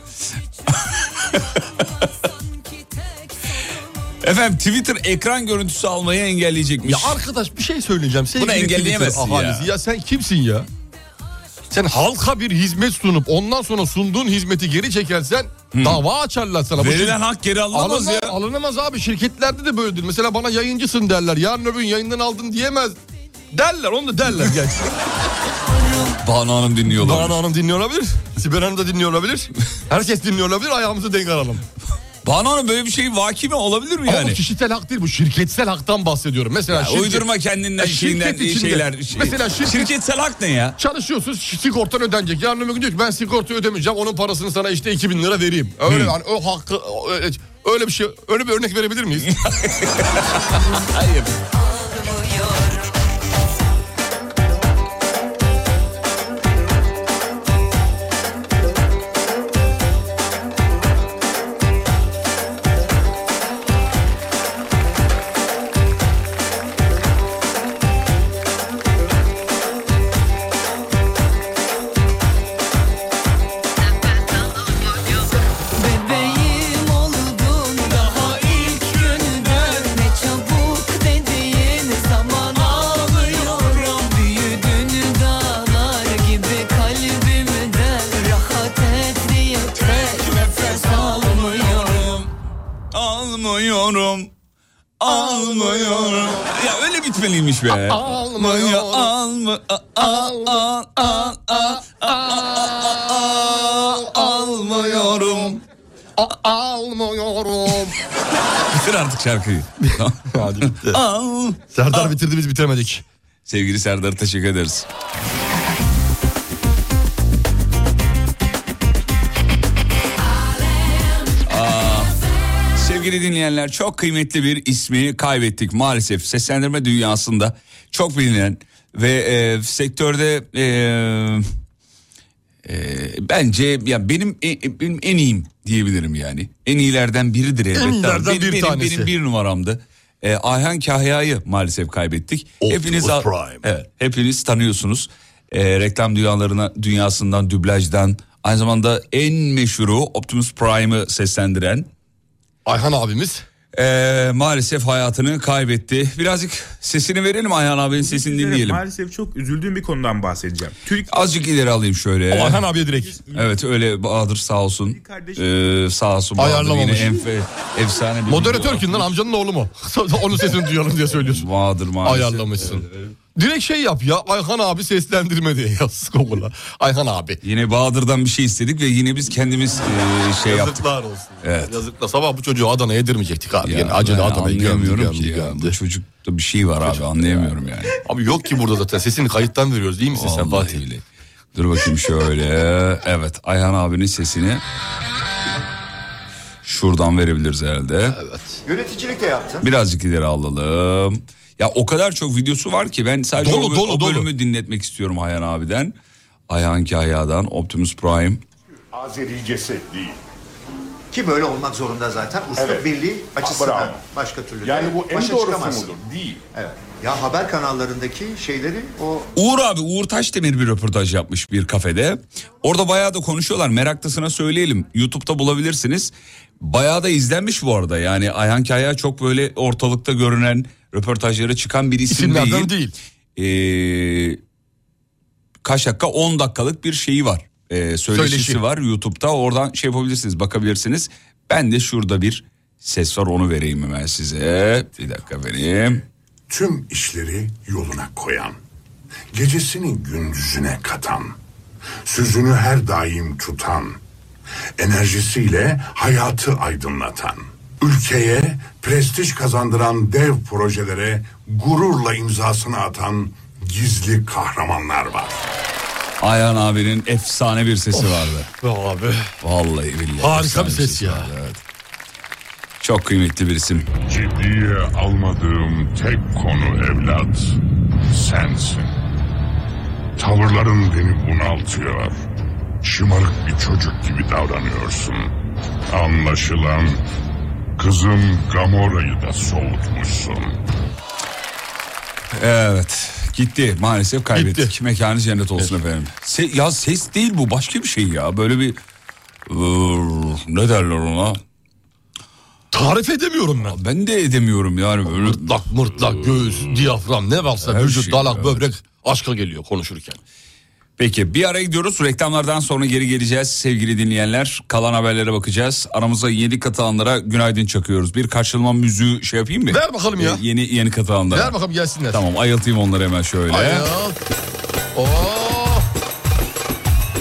Speaker 5: Efendim Twitter ekran görüntüsü almayı engelleyecekmiş.
Speaker 6: Ya arkadaş bir şey söyleyeceğim. Sevgili
Speaker 5: Bunu engelleyemezsin
Speaker 6: Twitter ahalisi,
Speaker 5: ya.
Speaker 6: Ya sen kimsin ya? Sen halka bir hizmet sunup ondan sonra sunduğun hizmeti geri çekersen dava açarlar sana. Bu
Speaker 5: Verilen
Speaker 6: şir-
Speaker 5: hak geri alınamaz ya.
Speaker 6: Alınamaz abi şirketlerde de böyledir. Mesela bana yayıncısın derler. Yarın öbür gün yayından aldın diyemez. Derler onu da derler gerçi.
Speaker 5: Banu Hanım dinliyorlar.
Speaker 6: Doğan Hanım dinliyor olabilir. Sibel Hanım da dinliyor olabilir. Herkes dinliyor olabilir. Ayağımızı denk alalım.
Speaker 5: Banu Hanım böyle bir şey vaki mi olabilir mi
Speaker 6: Ama
Speaker 5: yani?
Speaker 6: bu kişisel hak değil bu şirketsel haktan bahsediyorum. Mesela
Speaker 5: Ya
Speaker 6: şirket-
Speaker 5: uydurma kendinden
Speaker 6: Ya
Speaker 5: şeyinden şeyler. Şey-
Speaker 6: Mesela şirket,
Speaker 5: şirketsel hak ne ya?
Speaker 6: Çalışıyorsun sigortan ödenecek. Yarın öbür gün diyor ki ben sigortayı ödemeyeceğim. Onun parasını sana işte 2000 lira vereyim. Öyle
Speaker 5: Hı.
Speaker 6: hani o hakkı o- öyle, öyle bir şey öyle bir örnek verebilir miyiz?
Speaker 5: Hayır.
Speaker 11: Bebeğim oldun daha ilk günden Ne çabuk dediğin zaman ağlıyorum Büyüdün dağlar gibi kalbimden Rahat et diye tek nefes almıyorum
Speaker 5: Almıyorum. Almıyorum. Ya öyle bitmeliymiş be.
Speaker 6: Almıyor.
Speaker 5: Almı. a- a- a- a- a- a- Almıyorum.
Speaker 6: A- almıyorum.
Speaker 5: Bitir artık şarkıyı. Tamam.
Speaker 6: Hadi bitti.
Speaker 5: Al.
Speaker 6: Serdar bitirdi biz bitiremedik.
Speaker 5: Sevgili Serdar teşekkür ederiz. Aa, Sevgili dinleyenler çok kıymetli bir ismi kaybettik maalesef. Seslendirme dünyasında çok bilinen ve e, sektörde e, e, bence ya benim, e, e, benim en iyiyim diyebilirim yani. En iyilerden biridir elbette. ama
Speaker 6: iyilerden
Speaker 5: benim,
Speaker 6: bir
Speaker 5: benim,
Speaker 6: tanesi.
Speaker 5: benim bir numaramdı. E, Ayhan Kahya'yı maalesef kaybettik. hepiniz
Speaker 6: Optimus Prime.
Speaker 5: Evet, hepiniz tanıyorsunuz. E, reklam dünyalarına dünyasından, dublajdan aynı zamanda en meşhuru Optimus Prime'ı seslendiren
Speaker 6: Ayhan abimiz.
Speaker 5: ee, maalesef hayatını kaybetti. Birazcık sesini verelim Ayhan abinin sesini dinleyelim.
Speaker 12: Maalesef çok üzüldüğüm bir konudan bahsedeceğim. Türk
Speaker 5: Azıcık ileri alayım şöyle.
Speaker 6: Ee?
Speaker 12: O Ayhan
Speaker 6: abiye direkt.
Speaker 5: Evet öyle Bahadır sağ olsun. Ee, sağ olsun Bahadır
Speaker 6: Ayarlamamış.
Speaker 5: yine enfe, efsane bir
Speaker 6: Moderatör kim lan amcanın oğlu mu? Onun sesini duyalım diye söylüyorsun.
Speaker 5: Bahadır maalesef.
Speaker 6: Ayarlamışsın. Direkt şey yap ya Ayhan abi seslendirme diye yaz Google'a. Ayhan abi.
Speaker 5: Yine Bahadır'dan bir şey istedik ve yine biz kendimiz ee, şey yaptık.
Speaker 6: Yazıklar olsun.
Speaker 5: Evet.
Speaker 6: Yazıkla sabah bu çocuğu Adana'ya yedirmeyecektik abi. Yani acele
Speaker 5: ben
Speaker 6: Adana'yı
Speaker 5: anlayamıyorum
Speaker 6: gömdü,
Speaker 5: ki
Speaker 6: gömdü,
Speaker 5: ya.
Speaker 6: gömdü.
Speaker 5: Bu çocukta bir şey var abi anlayamıyorum yani.
Speaker 6: Abi yok ki burada zaten sesini kayıttan veriyoruz değil misin sen Fatih?
Speaker 5: Dur bakayım şöyle. Evet Ayhan abinin sesini şuradan verebiliriz herhalde.
Speaker 13: Yöneticilik de yaptın.
Speaker 5: Birazcık ileri alalım. Ya o kadar çok videosu var ki ben sadece
Speaker 6: Dolu,
Speaker 5: o, böl-
Speaker 6: dolu,
Speaker 5: o
Speaker 6: dolu.
Speaker 5: bölümü dinletmek istiyorum Ayhan abiden. Ayhan Kahya'dan Optimus Prime.
Speaker 13: Azericesi değil. Ki böyle olmak zorunda zaten. Usta
Speaker 14: Evet. Ah,
Speaker 13: birliği açısından.
Speaker 14: Bravo.
Speaker 13: Başka türlü.
Speaker 14: Yani
Speaker 13: de
Speaker 14: bu en
Speaker 13: başa
Speaker 14: doğrusu
Speaker 13: çıkamazsın.
Speaker 14: mudur? Değil.
Speaker 13: Evet. Ya haber kanallarındaki şeyleri o
Speaker 5: Uğur abi Uğur Taşdemir bir röportaj yapmış bir kafede. Orada bayağı da konuşuyorlar. Meraklısına söyleyelim. YouTube'da bulabilirsiniz. Bayağı da izlenmiş bu arada. Yani Ayhan Kaya çok böyle ortalıkta görünen röportajlara çıkan bir isim
Speaker 6: İsimlerden
Speaker 5: değil. Ee, kaç dakika? 10 dakikalık bir şeyi var. Ee, söyleşisi
Speaker 6: Söyleşi.
Speaker 5: var YouTube'da. Oradan şey yapabilirsiniz, bakabilirsiniz. Ben de şurada bir ses var onu vereyim hemen size. Bir dakika vereyim.
Speaker 15: Tüm işleri yoluna koyan, gecesini gündüzüne katan, sözünü her daim tutan, enerjisiyle hayatı aydınlatan, ülkeye prestij kazandıran dev projelere gururla imzasını atan gizli kahramanlar var.
Speaker 5: Ayhan abinin efsane bir sesi vardı.
Speaker 6: Abi.
Speaker 5: Vallahi billahi.
Speaker 6: Harika bir
Speaker 5: efsane şey
Speaker 6: ses ya.
Speaker 5: Çok kıymetli bir isim.
Speaker 15: Ciddiye almadığım tek konu evlat sensin. Tavırların beni bunaltıyor. Şımarık bir çocuk gibi davranıyorsun. Anlaşılan kızım Gamora'yı da soğutmuşsun.
Speaker 5: Evet. Gitti maalesef kaybettik. Mekanı cennet olsun efendim. Se- ya ses değil bu başka bir şey ya. Böyle bir Iıı, ne derler ona?
Speaker 6: Tarif edemiyorum ben.
Speaker 5: Ben de edemiyorum yani. Böyle...
Speaker 6: Mırtlak mırtlak göğüs, diyafram ne varsa
Speaker 5: Her
Speaker 6: vücut,
Speaker 5: şey,
Speaker 6: dalak,
Speaker 5: evet.
Speaker 6: böbrek aşka geliyor konuşurken.
Speaker 5: Peki bir ara gidiyoruz. Reklamlardan sonra geri geleceğiz sevgili dinleyenler. Kalan haberlere bakacağız. Aramıza yeni katılanlara günaydın çakıyoruz. Bir karşılama müziği şey yapayım mı?
Speaker 6: Ver bakalım ya.
Speaker 5: Ee, yeni yeni katılanlara.
Speaker 6: Ver bakalım gelsinler.
Speaker 5: Tamam Ee? ayıltayım onları hemen şöyle.
Speaker 6: Ayol. Oo.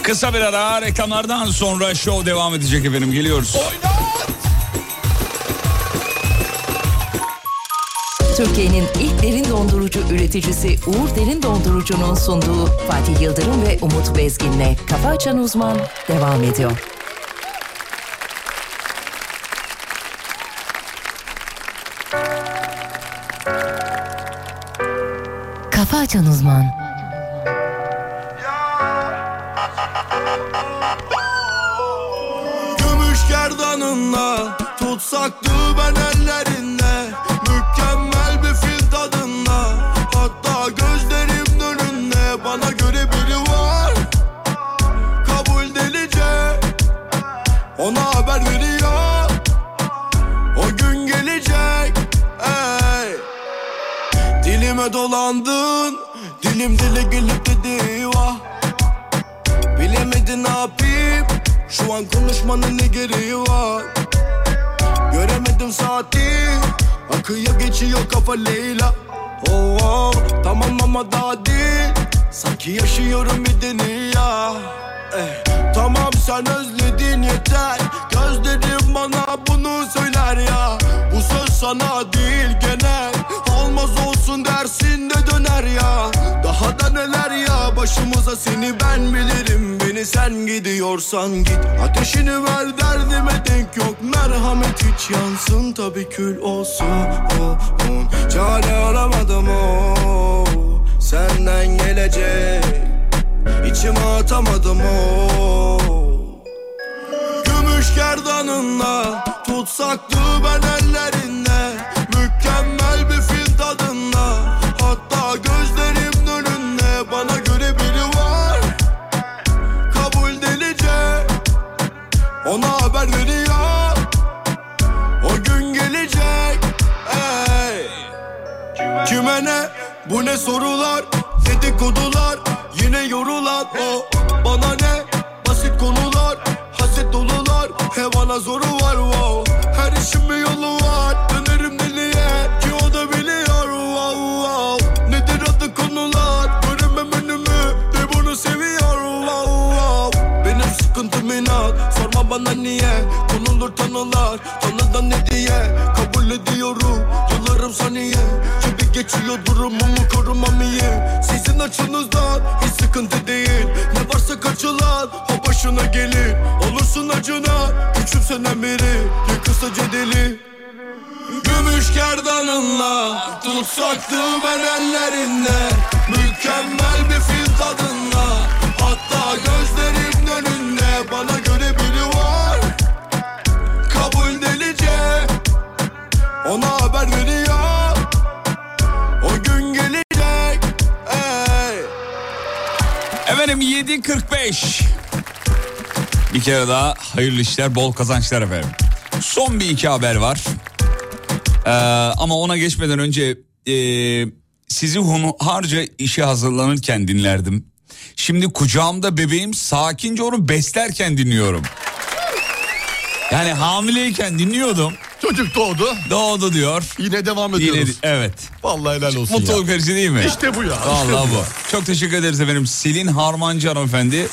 Speaker 5: Kısa bir ara reklamlardan sonra show devam edecek efendim. Geliyoruz.
Speaker 1: Türkiye'nin ilk derin dondurucu üreticisi Uğur Derin Dondurucu'nun sunduğu Fatih Yıldırım ve Umut Bezgin'le Kafa Açan Uzman devam ediyor. Kafa Açan Uzman
Speaker 14: Gümüş gerdanınla Tutsak düğmen ellerinde Mükemmel bir fil tadında Hatta gözlerim önünde Bana göre biri var Kabul delice Ona haber veriyor O gün gelecek Ey Dilime dolandın Dilim dile gelip dedi vah Bilemedin ne yapayım Şu an konuşmanın ne gereği var Göremedim saati Akıyor geçiyor kafa Leyla Oh, oh, Tamam ama daha değil Sanki yaşıyorum bir dünya Eh, Tamam sen özledin yeter Gözlerim bana bunu söyler ya Bu söz sana değil genel Olmaz olsun dersin de döner ya Daha da neler ya Başımıza seni ben bilirim Beni sen gidiyorsan git Ateşini ver derdime denk yok Merhamet hiç yansın tabi kül olsun oh, oh. Çare aramadım oh. Senden gelecek İçime atamadım o Gümüş gerdanınla Tutsak ben ellerinde Mükemmel bir fil tadında Hatta gözlerim önünde Bana göre biri var Kabul delice Ona haber veriyor O gün gelecek Ey. Kime ne? Bu ne sorular? Dedikodular Yine yorulan o Bana ne? Basit konular Haset dolular Hevana zoru var wow Oh, Her işin bir yolu var Dönerim deliye Ki o da biliyor wow wow Nedir adı konular Göremem önümü De bunu seviyor wow wow Benim sıkıntım inat Sorma bana niye Konulur tanılar Tanıdan ne diye Kabul ediyorum Yıllarım saniye Gibi geçiyor durumumu korumam iyi Sizin açınızdan hiç sıkıntı değil Ne varsa kaçılan o başına gelir Olursun acına küçümsenen biri Yıkılsa cedeli Gümüş gerdanınla Tutsaktı ben ellerinde Mükemmel bir fil tadında Hatta gözlerim önünde Bana göre biri var Kabul delice Ona haber veriyor O gün gelecek Ey
Speaker 5: Efendim 7.45. Bir kere daha hayırlı işler, bol kazançlar efendim. Son bir iki haber var. Ee, ama ona geçmeden önce e, sizi hunharca işe hazırlanırken dinlerdim. Şimdi kucağımda bebeğim sakince onu beslerken dinliyorum. Yani hamileyken dinliyordum.
Speaker 6: Çocuk doğdu.
Speaker 5: Doğdu diyor.
Speaker 6: Yine devam
Speaker 5: Yine-
Speaker 6: ediyoruz.
Speaker 5: evet.
Speaker 6: Vallahi helal olsun
Speaker 5: Mutluluk
Speaker 6: ya.
Speaker 5: verici değil mi?
Speaker 6: İşte bu ya. işte
Speaker 5: Vallahi
Speaker 6: bu. ya.
Speaker 5: bu. Çok teşekkür ederiz efendim. Selin Harmancı hanımefendi e,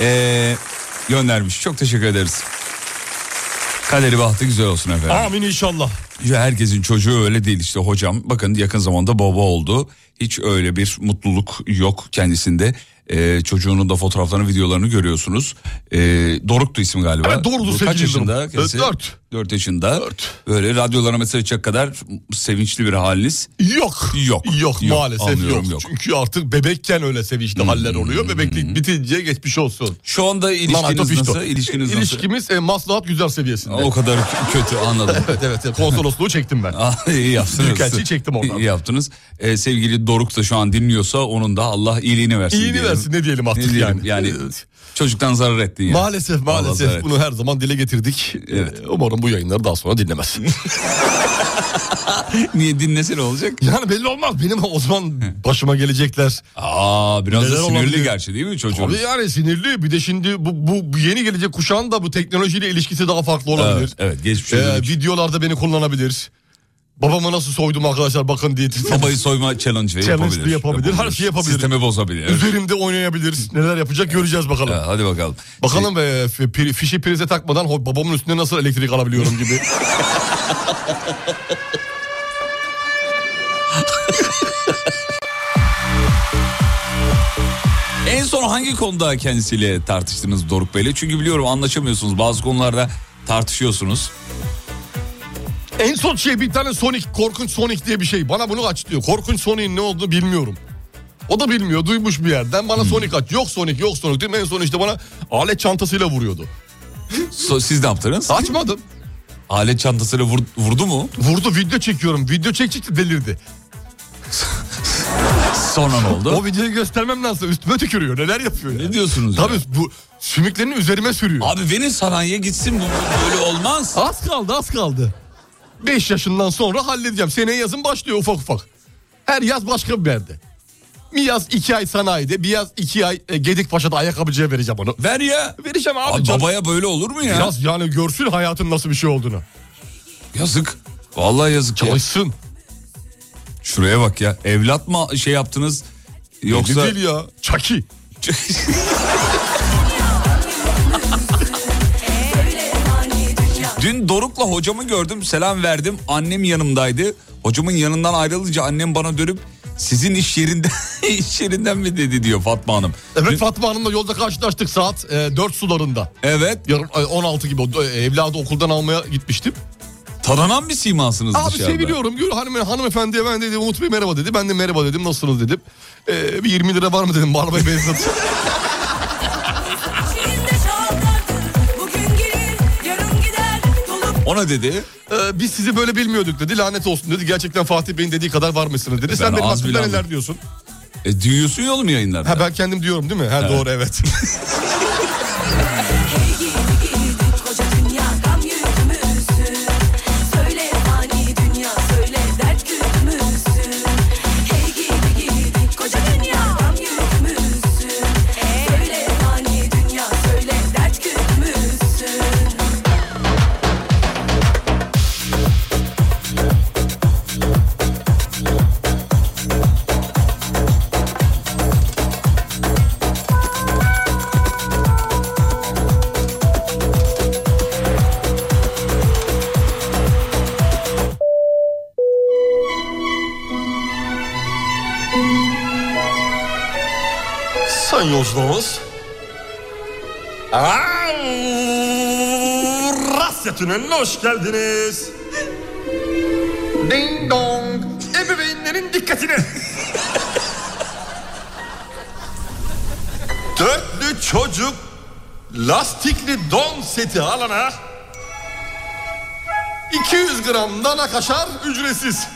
Speaker 5: eee, göndermiş. Çok teşekkür ederiz. Kaderi bahtı güzel olsun efendim.
Speaker 6: Amin inşallah.
Speaker 5: Ya herkesin çocuğu öyle değil işte hocam. Bakın yakın zamanda baba oldu. Hiç öyle bir mutluluk yok kendisinde. Ee, çocuğunun da fotoğraflarını, videolarını görüyorsunuz. Ee, Doruk'tu isim galiba.
Speaker 6: Evet, Doruk'tu,
Speaker 5: Doruk Kaç
Speaker 6: sevgili
Speaker 5: yaşında?
Speaker 6: Doruk. Evet, dört.
Speaker 5: 4 yaşında. Böyle radyolara mesaj açacak kadar sevinçli bir haliniz.
Speaker 6: Yok.
Speaker 5: Yok.
Speaker 6: Yok, maalesef
Speaker 5: anlıyorum, Hmm.
Speaker 6: yok. Çünkü artık bebekken öyle sevinçli haller oluyor. Bebeklik bitince geçmiş olsun.
Speaker 5: Şu anda ilişkiniz nasıl? İlişkiniz nasıl?
Speaker 6: İlişkimiz e, maslahat güzel seviyesinde.
Speaker 5: O kadar k- kötü anladım.
Speaker 6: evet evet evet. konsolosluğu çektim
Speaker 5: Ah.
Speaker 6: ben.
Speaker 5: İyi yaptınız.
Speaker 6: Büyükelçiyi çektim oradan.
Speaker 5: İyi yaptınız. Ee, sevgili Doruk da şu an dinliyorsa onun da Allah iyiliğini versin.
Speaker 6: İyiliğini versin, ne diyelim artık
Speaker 5: yani. Yani çocuktan zarar ettin yani.
Speaker 6: Maalesef
Speaker 5: Allah zarar
Speaker 6: maalesef
Speaker 5: ettin.
Speaker 6: bunu her zaman dile getirdik.
Speaker 5: Evet.
Speaker 6: Ee, Umarım bu yayınları daha sonra dinlemez.
Speaker 5: Niye dinlese ne olacak?
Speaker 6: Yani belli olmaz benim o zaman başıma gelecekler.
Speaker 5: Aa biraz da
Speaker 6: Neler
Speaker 5: sinirli
Speaker 6: olabilir?
Speaker 5: gerçi değil mi çocuğun?
Speaker 6: Tabii yani sinirli bir de şimdi bu, bu- bu yeni gelecek kuşağın da bu teknolojiyle ilişkisi daha farklı olabilir. Ee,
Speaker 5: Evet, Ee, evet, geçmiş olsun.
Speaker 6: videolarda beni kullanabilir. Babamı nasıl soydum arkadaşlar bakın diye.
Speaker 5: Babayı Ee, soyma challenge,
Speaker 6: Challenge
Speaker 5: yapabilir.
Speaker 6: de yapabilir, her şeyi yapabilir.
Speaker 5: Sistemi bozabilir.
Speaker 6: Üzerimde oynayabilir. Neler yapacak göreceğiz bakalım.
Speaker 5: Ha, hadi bakalım.
Speaker 6: Bakalım
Speaker 5: Şey-
Speaker 6: be, fi- pri- fişi prize takmadan ho- babamın üstüne nasıl elektrik alabiliyorum gibi.
Speaker 5: En son hangi konuda kendisiyle tartıştınız Doruk Bey'le? Çünkü biliyorum anlaşamıyorsunuz. Bazı konularda tartışıyorsunuz.
Speaker 6: en son şey bir tane Sonic, korkunç Sonic diye bir şey. Bana bunu aç diyor. Korkunç Sonic'in ne olduğunu bilmiyorum. O da bilmiyor, duymuş bir yerden. Bana Sonic aç. Yok Sonic, yok Sonic dedim. En son işte bana alet çantasıyla vuruyordu.
Speaker 5: So- Siz ne yaptınız?
Speaker 6: Açmadım.
Speaker 5: Alet çantasıyla vur- vurdu mu?
Speaker 6: Vurdu, video çekiyorum. Video çekecekti delirdi.
Speaker 5: Sonra ne oldu?
Speaker 6: O videoyu göstermem lazım. Üstüme tükürüyor. Neler yapıyor? Ne
Speaker 5: diyorsunuz?
Speaker 6: Tabii bu sümüklerini üzerime sürüyor.
Speaker 5: Abi verin sanayiye gitsin bu. Böyle olmaz.
Speaker 6: Az kaldı az kaldı. 5 yaşından sonra halledeceğim. Seneye yazın başlıyor ufak ufak. Her yaz başka bir yerde. Bir yaz iki ay sanayide, bir yaz iki ay e, Gedikpaşa'da ayakkabıcıya vereceğim onu.
Speaker 5: Ver ya.
Speaker 6: Vereceğim abi.
Speaker 5: Abi
Speaker 6: canım.
Speaker 5: babaya böyle olur mu ya?
Speaker 6: Biraz yani görsün hayatın nasıl bir şey olduğunu.
Speaker 5: Yazık. Vallahi yazık Çalışsın. Şuraya bak ya. Evlat mı şey yaptınız? Yoksa...
Speaker 6: Belli değil ya. Çaki.
Speaker 5: Dün Doruk'la hocamı gördüm selam verdim annem yanımdaydı. Hocamın yanından ayrılınca annem bana dönüp sizin iş yerinden iş yerinden mi dedi diyor Fatma Hanım.
Speaker 6: Evet Fatma Hanım'la yolda karşılaştık saat e, 4 sularında.
Speaker 5: Evet.
Speaker 6: Yarın, e, 16 gibi o- e, evladı okuldan almaya gitmiştim.
Speaker 5: Tanınan bir simasınız
Speaker 6: Abi
Speaker 5: dışarıda.
Speaker 6: seviliyorum. Gül hanım, hanımefendiye ben dedim Umut Bey merhaba dedi. Ben de merhaba dedim nasılsınız dedim. E, bir 20 lira var mı dedim arabaya benzin.
Speaker 5: Ona dedi.
Speaker 6: Ee, biz sizi böyle bilmiyorduk dedi. Lanet olsun dedi. Gerçekten Fatih Bey'in dediği kadar var mısınız dedi.
Speaker 5: Ben
Speaker 6: Sen benim
Speaker 5: az bile
Speaker 6: hakkımda neler
Speaker 5: anladım.
Speaker 6: diyorsun?
Speaker 5: E, duyuyorsun ya oğlum yayınlarda.
Speaker 6: Ha ben kendim diyorum değil mi? Ha
Speaker 5: Evet.
Speaker 6: doğru evet.
Speaker 11: Koca dünya gam yükümüzsün Söyle fani dünya söyle dert küpümüzsün Hey gibi giydik koca dünya gam yükümüzsün Söyle fani dünya söyle dert küpümüzsün
Speaker 6: Sen yolculuğumuz
Speaker 14: Rasya Tüneli'ne hoş geldiniz. Ding dong. Ebeveynlerin dikkatine. Dörtlü çocuk lastikli don seti alana
Speaker 6: 200 gram dana kaşar ücretsiz.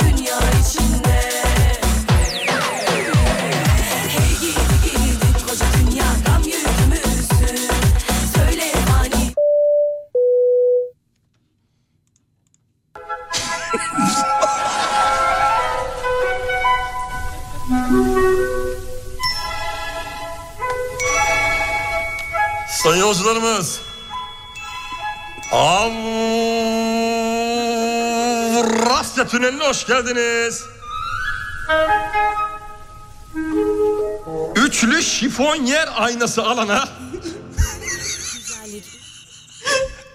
Speaker 11: Dünya içinde Hey gibi giydik koca dünya gam yükümüzsün Söyle fani
Speaker 14: Sayın yolcularımız. Avrasya Tüneli'ne hoş geldiniz. Üçlü şifonyer aynası alana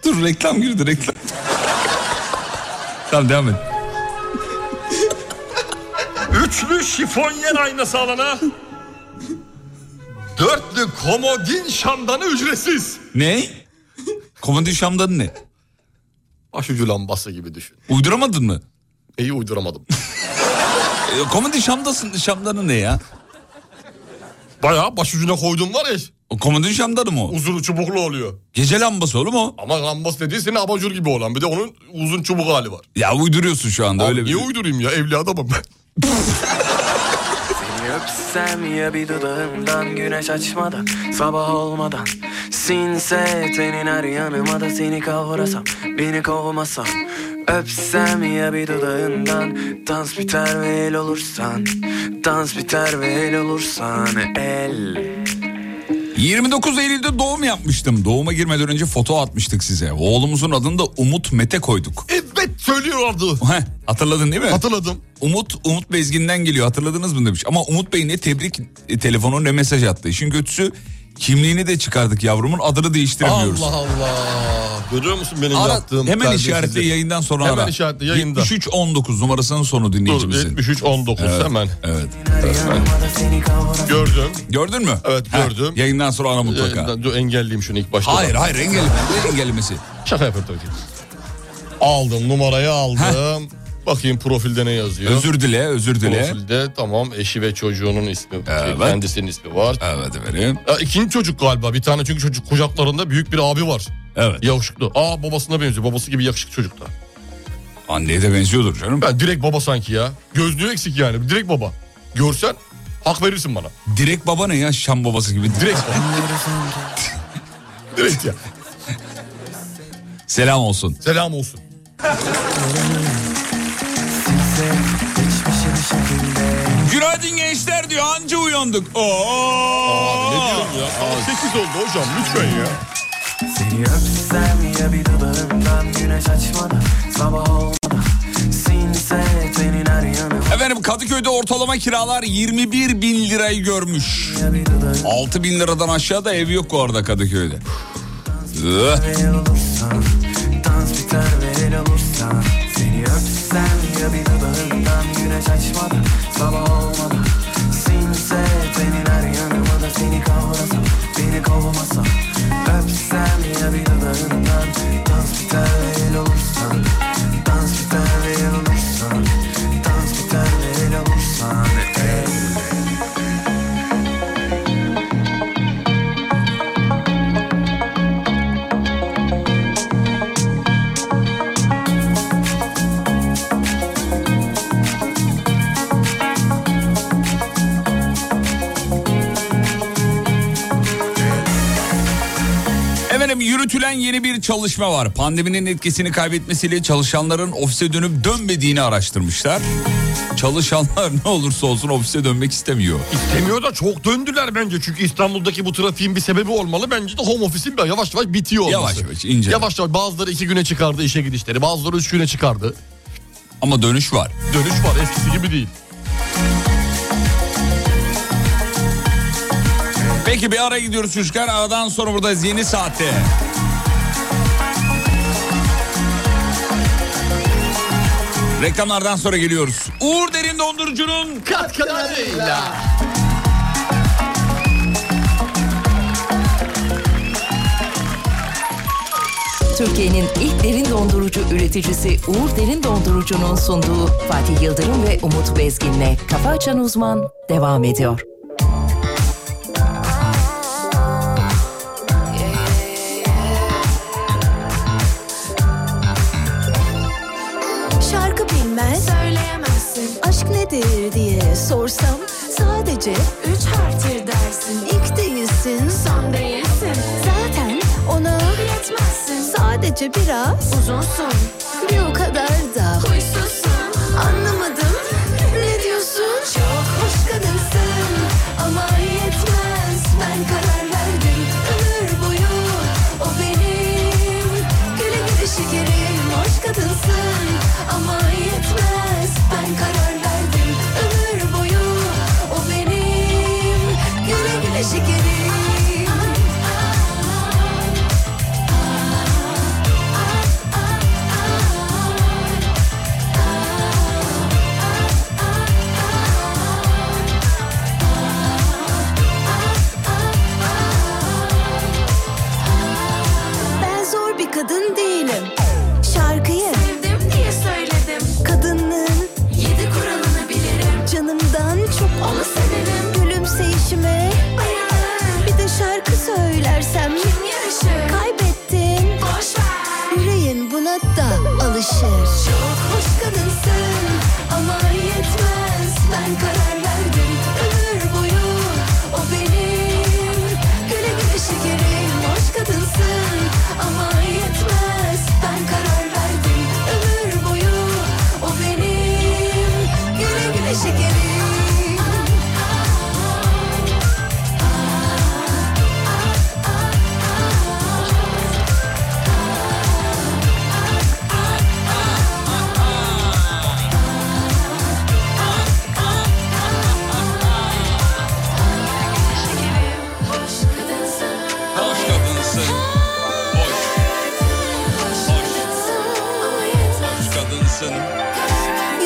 Speaker 5: dur reklam girdi reklam. tamam devam et.
Speaker 6: Üçlü şifonyer aynası alana. Dörtlü komodin şamdanı ücretsiz.
Speaker 5: Ne? Komodin şamdanı ne?
Speaker 6: Başucu lambası gibi düşün.
Speaker 5: Uyduramadın mı?
Speaker 6: İyi uyduramadım.
Speaker 5: e, komodin şamdasın, şamdanı ne ya?
Speaker 6: Bayağı başucuna koydum var ya.
Speaker 5: O komodin şamdanı mı o?
Speaker 6: Uzun çubuklu oluyor.
Speaker 5: Gece lambası oğlum o.
Speaker 6: Ama lambası dediği senin abajur gibi olan. Bir de onun uzun çubuk hali var.
Speaker 5: Ya uyduruyorsun şu anda öyle
Speaker 6: Niye
Speaker 5: bir.
Speaker 6: uydurayım ya? Evli adamım ben.
Speaker 16: Seni öpsem ya bir dudağımdan güneş açmadan sabah olmadan sinse tenin her yanıma da seni kavrasam beni kovmasam öpsem ya bir dudağından dans biter ve el olursan dans biter ve el olursan el
Speaker 5: 29 Eylül'de doğum yapmıştım. Doğuma girmeden önce foto atmıştık size. Oğlumuzun adını da Umut Mete koyduk.
Speaker 6: Evet söylüyordu.
Speaker 5: Heh, hatırladın değil mi?
Speaker 6: Hatırladım.
Speaker 5: Umut Umut Bezgin'den geliyor hatırladınız mı demiş. Ama Umut Bey ne tebrik e, telefonu ne mesaj attı. İşin kötüsü kimliğini de çıkardık yavrumun adını değiştiremiyoruz.
Speaker 6: Allah Allah. Görüyor musun benim
Speaker 5: Ara-
Speaker 6: yaptığım
Speaker 5: hemen
Speaker 6: terbiyesizlik?
Speaker 5: işaretli yayından sonra
Speaker 6: Hemen
Speaker 5: ara.
Speaker 6: işaretli yayında.
Speaker 5: 7319 numarasının sonu dinleyicimizin.
Speaker 6: 7319
Speaker 5: Evet,
Speaker 6: hemen.
Speaker 5: Evet.
Speaker 6: Gördüm.
Speaker 5: Gördün mü?
Speaker 6: Evet gördüm.
Speaker 5: yayından sonra ara mutlaka.
Speaker 6: Yayından- Dur engelleyeyim şunu ilk başta.
Speaker 5: Hayır hayır engelleme. Ne engellemesi?
Speaker 6: Şaka yapıyorum tabii ki. Aldım numarayı aldım. Bakayım profilde ne yazıyor.
Speaker 5: Özür dile, özür dile.
Speaker 6: Profilde tamam eşi ve çocuğunun ismi,
Speaker 5: Evet.
Speaker 6: şey, kendisinin ismi var.
Speaker 5: Evet efendim.
Speaker 6: Ya, ikinci çocuk galiba bir tane çünkü çocuk kucaklarında büyük bir abi var.
Speaker 5: Evet.
Speaker 6: Yakışıklı. Aa babasına benziyor. Babası gibi yakışıklı çocuk da.
Speaker 5: Anneye de benziyordur canım.
Speaker 6: Ben direkt baba sanki ya. Gözlüğü eksik yani. Direkt baba. Görsen hak verirsin bana.
Speaker 5: Direkt baba ne ya Şam babası gibi.
Speaker 6: Direkt direkt ya.
Speaker 5: Selam olsun.
Speaker 6: Selam olsun.
Speaker 5: Günaydın gençler diyor anca uyandık. Oo.
Speaker 6: Abi ne diyorum ya? Saat 8 oldu hocam lütfen ya.
Speaker 16: Seni öpsem ya bir dudağımdan güneş açmadan sabah olmadan sinse tenin her yanıma
Speaker 5: Efendim Kadıköy'de ortalama kiralar 21 bin lirayı görmüş. 6 bin liradan aşağıda ev yok bu arada Kadıköy'de. Üh.
Speaker 16: el olursan dans biter ve el olursan seni öpsem ya bir dudağımdan güneş açmadan sabah olmadan sinse tenin her yanıma da seni kavrasam beni kovmasam öpsem ya bir dudağımdan dans biter ve el olursan dans biter ve el olursan dans biter ve el olursan el
Speaker 5: Efendim yürütülen yeni bir çalışma var. Pandeminin etkisini kaybetmesiyle çalışanların ofise dönüp dönmediğini araştırmışlar. Çalışanlar ne olursa olsun ofise dönmek istemiyor.
Speaker 6: İstemiyor da çok döndüler bence. Çünkü İstanbul'daki bu trafiğin bir sebebi olmalı. Bence de home office'in bir- yavaş yavaş bitiyor olması.
Speaker 5: Yavaş yavaş ince.
Speaker 6: Yavaş yavaş bazıları iki güne çıkardı işe gidişleri. Bazıları üç güne çıkardı.
Speaker 5: Ama dönüş var.
Speaker 6: Dönüş var eskisi gibi değil.
Speaker 5: Peki bir ara gidiyoruz çocuklar. Aradan sonra buradayız yeni saatte. Reklamlardan sonra geliyoruz. Uğur Derin Dondurucu'nun
Speaker 17: Katkılarıyla.
Speaker 1: Türkiye'nin ilk derin dondurucu üreticisi Uğur Derin Dondurucu'nun sunduğu Fatih Yıldırım ve Umut Bezgin'le Kafa Açan Uzman devam ediyor.
Speaker 3: Şarkı bilmez Söyleyemezsin Aşk nedir diye sorsam Sadece Üç harftir dersin İlk değilsin Son değilsin Zaten ona Yetmezsin Sadece biraz Uzunsun Bir o kadar da Huysuzsun Anlamadım Ne diyorsun Çok hoş kadınsın Ama yetmez Ben karar verdim Ömür boyu O benim Güle güle şekerim Hoş kadınsın ama yetmez Ben karar verdim ömür boyu O benim güle güle şekerim
Speaker 18: yakışır Çok hoş kadınsın ama yetmez Ben karar verdim ömür boyu o benim Güle güle şekerim hoş kadınsın ama yetmez Ben karar verdim ömür boyu o benim Güle güle şekerim
Speaker 19: Hoş kadınsın.
Speaker 5: Hoş kadınsın. Hoş. Hoş. Hoş kadınsın.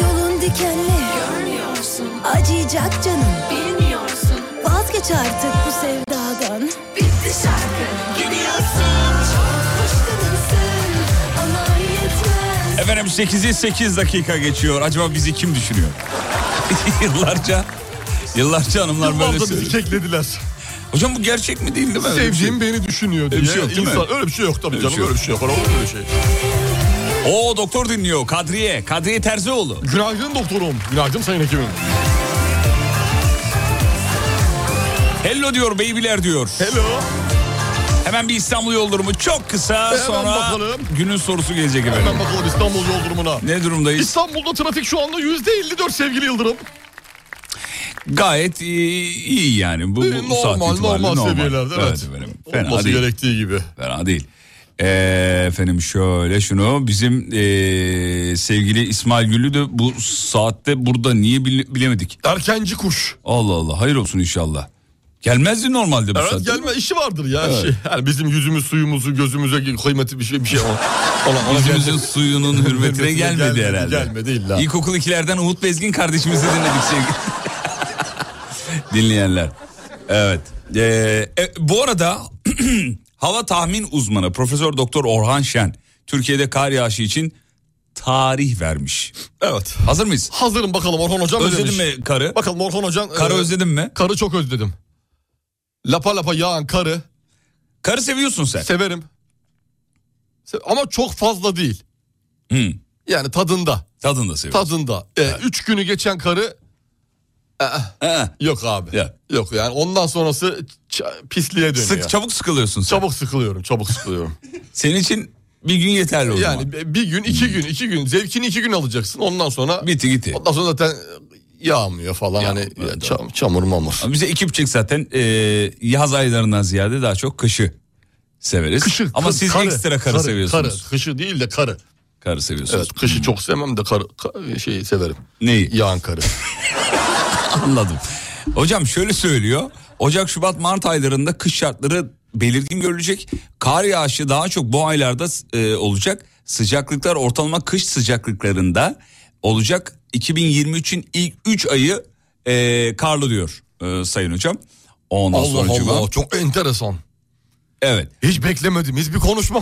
Speaker 18: Yolun dikenli Görmüyorsun Acıyacak canım Bilmiyorsun Vazgeç artık bu sevdadan Bitti şarkı Gidiyorsun Çok hoş kadınsın Ama yetmez
Speaker 5: Efendim 8'i 8 dakika geçiyor. Acaba bizi kim düşünüyor? yıllarca yıllarca hanımlar böyle
Speaker 6: Yıllarca bizi
Speaker 5: keklediler. Hocam bu gerçek mi değil mi? Öyle bir şey
Speaker 6: Sevdiğim beni düşünüyor diye.
Speaker 5: Öyle bir şey yok değil mi?
Speaker 6: insan- Öyle bir şey yok tabii
Speaker 5: Öyle bir
Speaker 6: canım.
Speaker 5: şey yok.
Speaker 6: Öyle bir şey yok. Olur mu öyle şey?
Speaker 5: O doktor dinliyor. Kadriye. Kadriye Terzioğlu.
Speaker 6: Günaydın doktorum. Günaydın sayın hekimim.
Speaker 5: Hello diyor babyler diyor. Hello. Hemen bir İstanbul yol durumu çok kısa
Speaker 6: Hemen
Speaker 5: sonra
Speaker 6: bakalım.
Speaker 5: günün sorusu gelecek efendim.
Speaker 6: Hemen bakalım İstanbul yol durumuna.
Speaker 5: Ne durumdayız?
Speaker 6: İstanbul'da trafik şu anda %54 sevgili Yıldırım.
Speaker 5: Gayet iyi, iyi yani. Bu, bu
Speaker 6: Ee, Normal,
Speaker 5: saat itibariyle
Speaker 6: normal seviyelerde, evet.
Speaker 5: efendim.
Speaker 6: Olması
Speaker 5: gerektiği gibi. Fena değil. Ee, efendim şöyle şunu bizim ee, sevgili İsmail Güllü de bu saatte burada niye bile- bilemedik? Erkenci kuş. Allah Allah hayır olsun inşallah. Gelmezdi normalde bu saatte.
Speaker 6: Evet gelme işi vardır ya.
Speaker 5: Evet.
Speaker 6: Şey, yani bizim yüzümüz suyumuzu gözümüze gi- kıymeti bir şey bir şey olan. olan- ona
Speaker 5: Yüzümüzün
Speaker 6: gelmedi.
Speaker 5: suyunun hürmetine gelmedi, herhalde.
Speaker 6: şey Gelmedi illa.
Speaker 5: İlkokul 2'lerden Umut Bezgin kardeşimizi dinledik sevgili dinleyenler. Evet. Ee, e, bu arada hava tahmin uzmanı Profesör Doktor Orhan Şen Türkiye'de kar yağışı için tarih vermiş. Evet. Hazır mıyız?
Speaker 6: Hazırım bakalım Orhan Hocam ne
Speaker 5: Özledin
Speaker 6: demiş?
Speaker 5: mi karı?
Speaker 6: Bakalım Orhan Hocam. e,
Speaker 5: Karı özledin mi?
Speaker 6: Karı çok özledim. Lapa lapa yağan karı.
Speaker 5: Karı seviyorsun sen.
Speaker 6: Severim. Se- Ama çok fazla değil. Yani tadında.
Speaker 5: Tadında seviyorsun.
Speaker 6: Tadında. Ee, Üç günü geçen karı... Ee, Yok abi. Yok yani ondan sonrası ç- pisliğe dönüyor.
Speaker 5: Sık, çabuk sıkılıyorsun sen.
Speaker 6: Çabuk sıkılıyorum, çabuk sıkılıyorum.
Speaker 5: Senin için bir gün yeterli o
Speaker 6: yani
Speaker 5: zaman.
Speaker 6: bi- bir gün, iki gün, iki gün. Zevkini iki gün alacaksın. Ondan sonra...
Speaker 5: Bitti gitti.
Speaker 6: Ondan sonra zaten e, yağmıyor falan. hani ya, çam- çamur mamur.
Speaker 5: Ama Bize iki buçuk zaten e, yaz aylarından ziyade daha çok kışı severiz.
Speaker 6: Kışı,
Speaker 5: Ama
Speaker 6: kar-
Speaker 5: siz
Speaker 6: karı,
Speaker 5: ekstra karı,
Speaker 6: karı,
Speaker 5: seviyorsunuz.
Speaker 6: karı. Kışı değil de karı.
Speaker 5: Karı seviyorsunuz.
Speaker 6: Evet, kışı çok sevmem de karı, ka- şeyi severim.
Speaker 5: Neyi?
Speaker 6: Yağan karı.
Speaker 5: Anladım. Hocam şöyle söylüyor. Ocak, Şubat, Mart aylarında kış şartları belirgin görülecek. Kar yağışı daha çok bu aylarda e, olacak. Sıcaklıklar ortalama kış sıcaklıklarında olacak. 2023'ün ilk 3 ayı e, karlı diyor e, sayın hocam. Ondan
Speaker 6: Allah
Speaker 5: sonra
Speaker 6: Allah, çok enteresan.
Speaker 5: Evet.
Speaker 6: Hiç beklemediğimiz bir konuşma.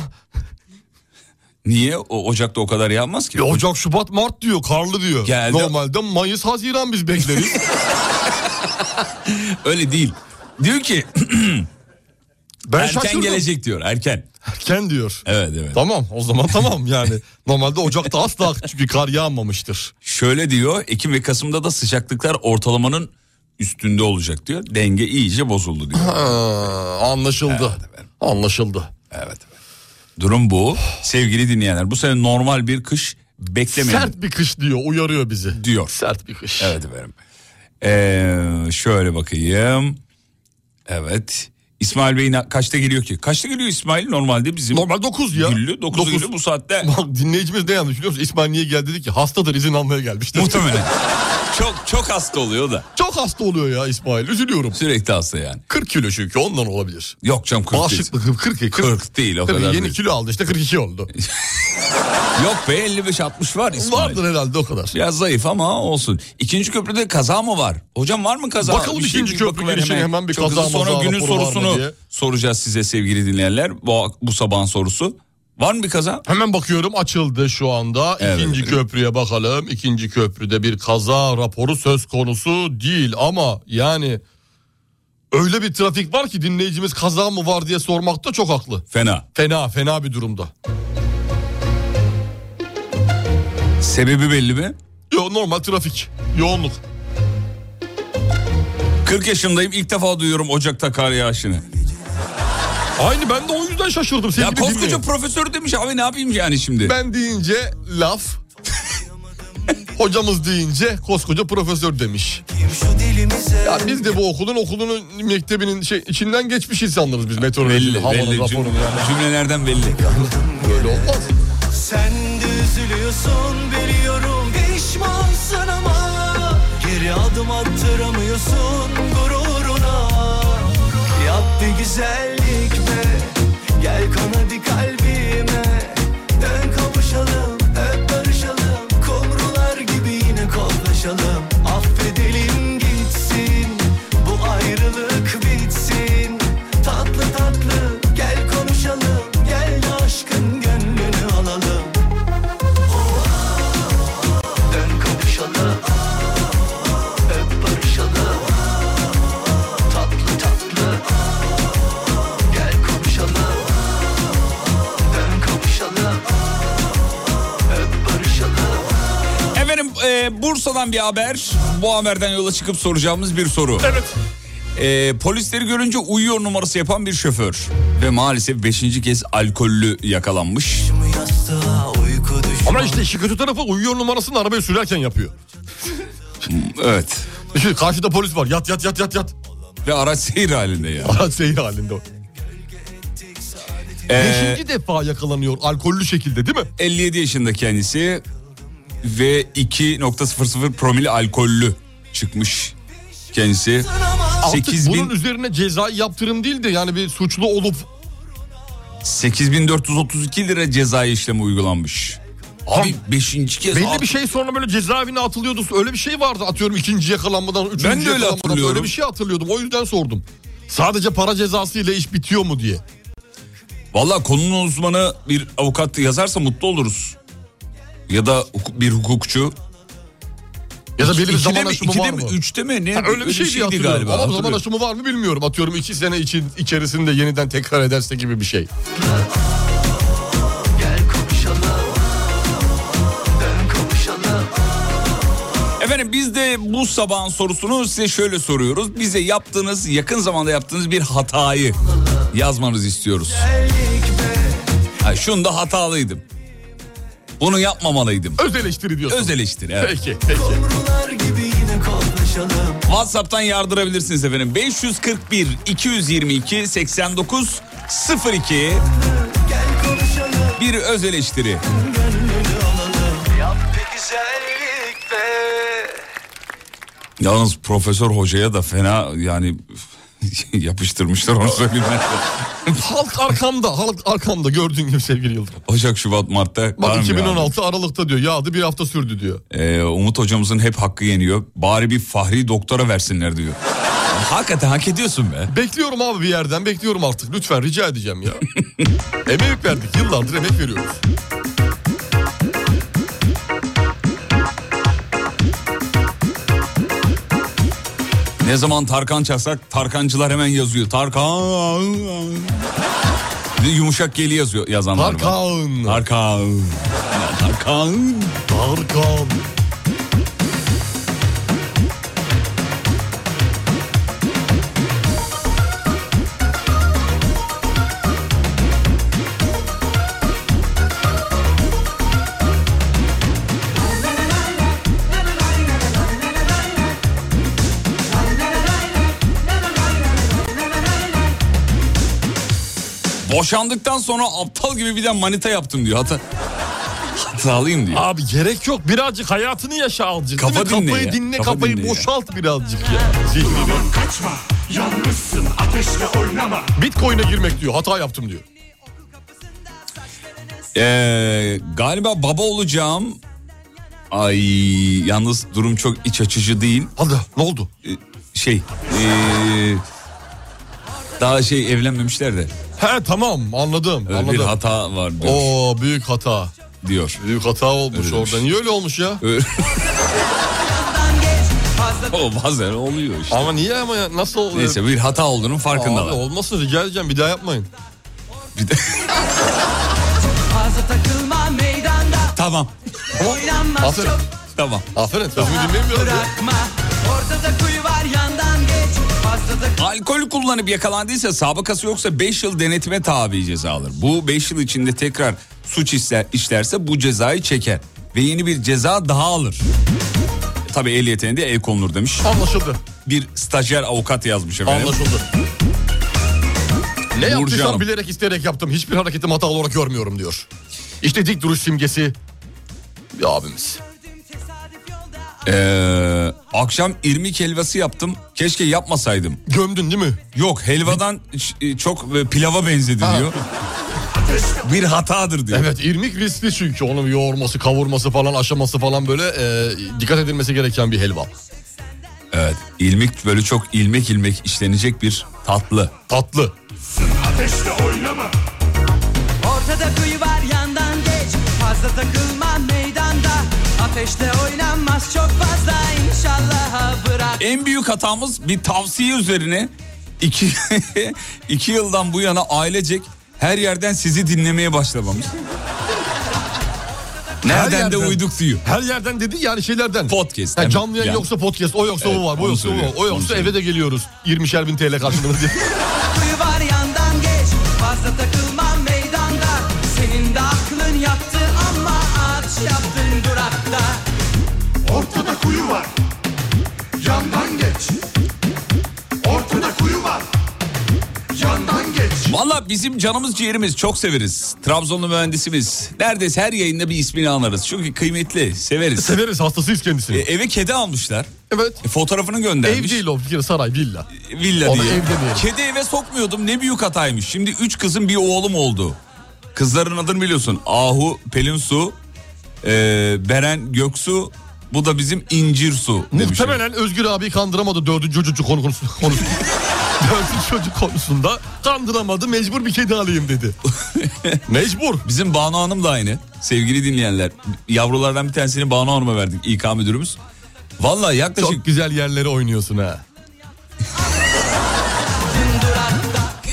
Speaker 5: Niye? O, Ocak'ta o kadar yağmaz ki.
Speaker 6: Ya Ocak, Şubat, Mart diyor, karlı diyor.
Speaker 5: Geldi.
Speaker 6: Normalde Mayıs, Haziran biz bekleriz.
Speaker 5: Öyle değil. Diyor ki
Speaker 6: Ben
Speaker 5: erken
Speaker 6: şaşırdım.
Speaker 5: gelecek diyor erken.
Speaker 6: Erken diyor.
Speaker 5: Evet evet.
Speaker 6: Tamam o zaman tamam yani. Normalde Ocak'ta asla çünkü kar yağmamıştır.
Speaker 5: Şöyle diyor Ekim ve Kasım'da da sıcaklıklar ortalamanın üstünde olacak diyor. Denge iyice bozuldu diyor.
Speaker 6: Ha, anlaşıldı. Anlaşıldı.
Speaker 5: Durum bu. Sevgili dinleyenler bu sene normal bir kış beklemeyin.
Speaker 6: Sert bir kış diyor uyarıyor bizi.
Speaker 5: Diyor.
Speaker 6: Sert bir kış.
Speaker 5: Evet efendim. Ee, şöyle bakayım. Evet. İsmail Bey'in kaçta geliyor ki? Kaçta geliyor İsmail normalde bizim?
Speaker 6: Normal 9 ya.
Speaker 5: Güllü 9
Speaker 6: Dokuz.
Speaker 5: bu saatte.
Speaker 6: Bak dinleyicimiz ne yazmış biliyor musun? İsmail niye geldi dedi ki hastadır izin almaya gelmiştir.
Speaker 5: Muhtemelen. çok çok hasta oluyor da.
Speaker 6: Çok hasta oluyor ya İsmail üzülüyorum.
Speaker 5: Sürekli hasta yani.
Speaker 6: 40 kilo çünkü ondan olabilir.
Speaker 5: Yok canım 40 değil.
Speaker 6: Bağışıklık 40, 40,
Speaker 5: 40 değil o
Speaker 6: Tabii
Speaker 5: kadar
Speaker 6: yeni
Speaker 5: değil.
Speaker 6: kilo aldı işte 42 oldu.
Speaker 5: Yok be 55-60 var İsmail.
Speaker 6: Vardır herhalde o kadar.
Speaker 5: Biraz zayıf ama olsun. İkinci köprüde kaza mı var? Hocam var mı kaza?
Speaker 6: Bakalım
Speaker 5: Bir şey
Speaker 6: ikinci
Speaker 5: bir
Speaker 6: köprü
Speaker 5: bakıver
Speaker 6: girişine hemen bir
Speaker 5: Çok
Speaker 6: kaza
Speaker 5: hızlı
Speaker 6: maza
Speaker 5: Sonra günün
Speaker 6: raporu var mı
Speaker 5: sorusunu
Speaker 6: diye.
Speaker 5: soracağız size sevgili dinleyenler. Bu, bu sabahın sorusu. Var mı bir kaza?
Speaker 6: Hemen bakıyorum açıldı şu anda.
Speaker 5: Evet.
Speaker 6: İkinci köprüye bakalım. İkinci köprüde bir kaza raporu söz konusu değil ama yani öyle bir trafik var ki dinleyicimiz kaza mı var diye sormakta çok haklı.
Speaker 5: Fena.
Speaker 6: Fena fena bir durumda.
Speaker 5: Sebebi belli mi?
Speaker 6: Yo normal trafik. Yoğunluk.
Speaker 5: 40 yaşındayım ilk defa duyuyorum Ocak'ta kar yağışını.
Speaker 6: Aynı ben de o yüzden şaşırdım.
Speaker 5: Ya koskoca profesör demiş abi ne yapayım yani şimdi?
Speaker 6: Ben deyince laf. Hocamız deyince koskoca profesör demiş. Ya biz de bu okulun okulunun mektebinin şey içinden geçmiş insanlarız biz meteorolojinin
Speaker 5: Belli,
Speaker 6: havanın
Speaker 5: belli.
Speaker 6: raporunu.
Speaker 5: Cümle- Cümlelerden belli.
Speaker 6: Böyle olmaz.
Speaker 3: Sen de üzülüyorsun biliyorum pişmansın ama Geri adım attıramıyorsun gururuna Yap bir güzellik be Gel kan hadi kalbime Dön kavuşalım öp barışalım Kumrular gibi yine kollaşalım Affedelim gitsin bu ayrılık bitsin Tatlı tatlı gel konuşalım Gel aşkın gönlünü alalım Dön kavuşalım Öp barışalım Tatlı tatlı Gel konuşalım Dön kavuşalım Öp barışalım
Speaker 5: Efendim e, Bursa'dan bir haber. Bu haberden yola çıkıp soracağımız bir soru. Evet. polisleri görünce uyuyor numarası yapan bir şoför. Ve maalesef 5. kez alkollü yakalanmış.
Speaker 6: Ama işte işi kötü tarafı uyuyor numarasını arabayı sürerken yapıyor.
Speaker 5: evet.
Speaker 6: İşte karşıda polis var yat yat yat yat yat.
Speaker 5: Ve araç seyir halinde ya.
Speaker 6: Araç seyir halinde o.
Speaker 5: Ee,
Speaker 6: Beşinci defa yakalanıyor alkollü şekilde değil mi?
Speaker 5: 57 yaşında kendisi ve 2.00 promil alkollü çıkmış kendisi.
Speaker 6: Artık
Speaker 5: 8000
Speaker 6: bunun üzerine cezai yaptırım değil de yani bir suçlu olup
Speaker 5: 8432 lira ceza işlemi uygulanmış. Abi 5. kez
Speaker 6: belli
Speaker 5: at-
Speaker 6: bir şey sonra böyle cezaevine atılıyordu. Öyle bir şey vardı atıyorum ikinci yakalanmadan, üçüncü
Speaker 5: Ben de öyle
Speaker 6: yakalanmadan
Speaker 5: hatırlıyorum.
Speaker 6: Öyle bir şey hatırlıyordum o yüzden sordum. Sadece para cezası ile iş bitiyor mu diye. şey-
Speaker 5: Valla konunun uzmanı bir avukat yazarsa mutlu oluruz. Ya da hukuk- bir hukukçu.
Speaker 6: Ya da belli bir
Speaker 5: İkide
Speaker 6: zaman
Speaker 5: mi-
Speaker 6: aşımı
Speaker 5: ikide
Speaker 6: var
Speaker 5: mi,
Speaker 6: mı?
Speaker 5: Üçte mi? Ne?
Speaker 6: Ha, öyle bir şey diye hatırlıyorum. Ama zaman
Speaker 5: Hatırlıyorum.
Speaker 6: aşımı var mı bilmiyorum. Atıyorum iki sene için içerisinde yeniden tekrar ederse gibi bir şey.
Speaker 5: Efendim biz de bu sabahın sorusunu size şöyle soruyoruz. Bize yaptığınız, yakın zamanda yaptığınız bir hatayı yazmanızı istiyoruz. Ha, şunda hatalıydım. Bunu yapmamalıydım.
Speaker 6: Öz eleştiri diyorsun.
Speaker 5: Öz eleştiri evet.
Speaker 6: Peki peki.
Speaker 3: Kumrular gibi yine kollaşalım
Speaker 5: WhatsApp'tan yardırabilirsiniz efendim. 541 222 89 02 bir öz eleştiri. Yalnız Profesör Hoca'ya da fena yani yapıştırmışlar onu söyleyeyim ben.
Speaker 6: halk arkamda, halk arkamda gördüğün gibi sevgili Yıldırım.
Speaker 5: Ocak, Şubat, Mart'ta. kar mı
Speaker 6: Bak
Speaker 5: yağdı?
Speaker 6: 2016 Aralık'ta diyor yağdı bir hafta sürdü diyor.
Speaker 5: Ee, Umut hocamızın hep hakkı yeniyor. Bari bir fahri doktora versinler diyor. Hakikaten hak ediyorsun be.
Speaker 6: Bekliyorum abi bir yerden bekliyorum artık. Lütfen rica edeceğim ya. emek verdik yıllardır emek veriyoruz.
Speaker 5: Ne zaman Tarkan çalsak Tarkancılar hemen yazıyor. Tarkan. Bir de Yumuşak geli yazıyor yazanlar
Speaker 6: Tarkan.
Speaker 5: var. Tarkan. Ya Tarkan.
Speaker 6: Tarkan.
Speaker 5: Boşandıktan sonra aptal gibi bir de manita yaptım diyor. Hata... Hatalıyım diyor.
Speaker 6: Abi gerek yok birazcık hayatını yaşa azıcık. değil
Speaker 5: Kafa
Speaker 6: mi?
Speaker 5: dinle
Speaker 6: Kafayı
Speaker 5: ya.
Speaker 6: dinle
Speaker 5: Kafa
Speaker 6: kafayı
Speaker 5: dinle ya.
Speaker 6: boşalt birazcık ya. Zihnini.
Speaker 3: Kaçma yalnızsın ateşle oynama
Speaker 6: Bitcoin'e girmek diyor hata yaptım diyor.
Speaker 5: Ee, galiba baba olacağım. Ay yalnız durum çok iç açıcı değil.
Speaker 6: Hadi ne oldu?
Speaker 5: Şey ee, daha şey evlenmemişler de.
Speaker 6: He tamam anladım
Speaker 5: Öyle bir
Speaker 6: anladım.
Speaker 5: hata var diyor.
Speaker 6: Oo büyük hata.
Speaker 5: diyor.
Speaker 6: Büyük hata olmuş
Speaker 5: Öyle şey.
Speaker 6: orada.
Speaker 5: demiş.
Speaker 6: Niye öyle olmuş ya?
Speaker 5: Öyle- o bazen oluyor işte.
Speaker 6: Ama niye ama ya? Nasıl oluyor?
Speaker 5: Neyse bir hata olduğunun
Speaker 6: Abi
Speaker 5: farkındalar.
Speaker 6: olmasın rica edeceğim bir daha yapmayın.
Speaker 5: Bir de-
Speaker 20: Fazla takılma meydanda
Speaker 5: tamam.
Speaker 7: Oynanmaz çok
Speaker 5: Tamam.
Speaker 6: Aferin. Sözümü
Speaker 7: daha
Speaker 6: dinlemiyorum. ya.
Speaker 7: Bırakma Ortada kuyu var yandan geç Fazla da
Speaker 5: Alkol kullanıp yakalandıysa sabıkası yoksa 5 yıl denetime tabi ceza alır. Bu 5 yıl içinde tekrar suç işler, işlerse bu cezayı çeker. Ve yeni bir ceza daha alır. Tabii ehliyetine de el konulur demiş.
Speaker 6: Anlaşıldı.
Speaker 5: Bir stajyer avukat yazmış efendim.
Speaker 6: Anlaşıldı. Ne
Speaker 5: Uğur Canım.
Speaker 6: yaptıysam bilerek isteyerek yaptım. Hiçbir hareketim hata olarak görmüyorum diyor. İşte dik duruş simgesi bir abimiz.
Speaker 5: Ee, akşam irmik helvası yaptım. Keşke yapmasaydım.
Speaker 6: Gömdün değil mi?
Speaker 5: Yok helvadan ç- e, çok e, pilava benzedi diyor. Bir hatadır diyor.
Speaker 6: Evet irmik riskli çünkü onun yoğurması, kavurması falan, aşaması falan böyle e, dikkat edilmesi gereken bir helva.
Speaker 5: Evet ilmik böyle çok ilmek ilmek işlenecek bir tatlı.
Speaker 6: Tatlı.
Speaker 7: Ateşle oynama Ortada kuyu var yandan geç Fazla takılma meydanda Ateşle oynanmaz çok fazla İnşallah bırak
Speaker 5: En büyük hatamız bir tavsiye üzerine iki, iki yıldan bu yana ailecek her yerden sizi dinlemeye başlamamız.
Speaker 6: Her
Speaker 5: Nereden de
Speaker 6: yerden.
Speaker 5: uyduk diyor.
Speaker 6: Her yerden dedi yani şeylerden.
Speaker 5: Podcast.
Speaker 6: Yani
Speaker 5: evet,
Speaker 6: canlı yayın
Speaker 5: yani.
Speaker 6: yoksa podcast, o yoksa
Speaker 5: Evet,
Speaker 6: bu var, bu
Speaker 5: onu
Speaker 6: yoksa bu
Speaker 5: söylüyor,
Speaker 6: var, o
Speaker 5: onu
Speaker 6: yoksa
Speaker 5: söylüyor.
Speaker 6: eve de geliyoruz. 20'şer bin TL karşılığında diye.
Speaker 7: Kuyu var yandan geç Fazla takılma meydanda Senin de aklın yattı ama Ağaç yaptın durakta
Speaker 9: Ortada kuyu var Yandan geç Ortada kuyu var Yandan geç
Speaker 5: Valla bizim canımız ciğerimiz çok severiz. Trabzonlu mühendisimiz. Neredeyse her yayında bir ismini anarız. Çünkü kıymetli, severiz.
Speaker 6: Severiz, hastasıyız kendisini.
Speaker 5: E, eve kedi almışlar.
Speaker 6: Evet.
Speaker 5: E, fotoğrafını göndermiş.
Speaker 6: Ev değil o bir kere saray, villa.
Speaker 5: Villa
Speaker 6: Ona
Speaker 5: diye.
Speaker 6: ev demeyelim.
Speaker 5: Kedi eve sokmuyordum ne büyük hataymış. Şimdi üç kızım bir oğlum oldu. Kızların adını biliyorsun. Ahu, Pelin Su, e, Beren Göksu. Bu da bizim İncir Su demiş.
Speaker 6: Muhtemelen Özgür abi kandıramadı dördüncü çocuk konu- konusu. konusu. dördüncü çocuk konusunda kandıramadı mecbur bir kedi alayım dedi. Mecbur.
Speaker 5: Bizim Banu Hanım da aynı. Sevgili dinleyenler. Yavrulardan bir tanesini Banu Hanım'a verdik İK müdürümüz. Valla yaklaşık...
Speaker 6: Çok güzel yerlere oynuyorsun ha.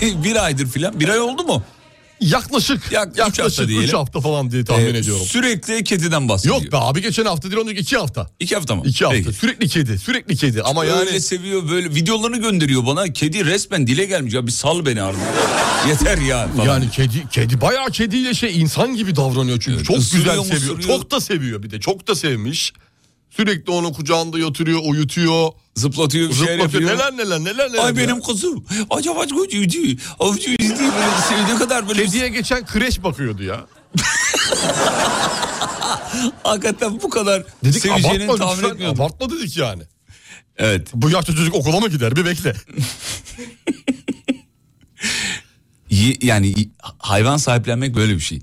Speaker 5: bir aydır filan. Bir ay oldu mu?
Speaker 6: Yaklaşık.
Speaker 5: Yak, üç hafta
Speaker 6: Yaklaşık
Speaker 5: diyelim.
Speaker 6: 3 hafta falan diye tahmin
Speaker 5: Ee,
Speaker 6: ediyorum.
Speaker 5: Sürekli kediden bahsediyor.
Speaker 6: Yok be abi geçen hafta değil ondan iki hafta.
Speaker 5: İki hafta mı?
Speaker 6: İki hafta.
Speaker 5: Peki.
Speaker 6: Sürekli kedi. Sürekli kedi. Ama
Speaker 5: Öyle
Speaker 6: yani
Speaker 5: seviyor böyle videolarını gönderiyor bana. Kedi resmen dile gelmiş ya bir sal beni artık. Yeter ya falan.
Speaker 6: yani kedi kedi bayağı kediyle şey insan gibi davranıyor çünkü. çok
Speaker 5: ısırıyor
Speaker 6: güzel
Speaker 5: mu,
Speaker 6: seviyor.
Speaker 5: ısırıyor.
Speaker 6: Çok da seviyor bir de. Çok da sevmiş. Sürekli onu kucağında yatırıyor, uyutuyor.
Speaker 5: Zıplatıyor bir şeyler
Speaker 6: Zıplatıyor.
Speaker 5: yapıyor.
Speaker 6: Şey Neler neler neler neler.
Speaker 5: Ay
Speaker 6: ya.
Speaker 5: benim kuzum. Acaba çocuğu. Avcı izliyor böyle sevdiği kadar böyle.
Speaker 6: Kediye geçen kreş bakıyordu ya.
Speaker 5: Hakikaten bu kadar
Speaker 6: Dedik
Speaker 5: seveceğini
Speaker 6: abartma
Speaker 5: tahmin
Speaker 6: lütfen
Speaker 5: etmiyordum.
Speaker 6: abartma dedik yani.
Speaker 5: Evet.
Speaker 6: Bu yaşta çocuk okula mı gider bir bekle.
Speaker 5: Y- Yani y- hayvan sahiplenmek böyle bir şey.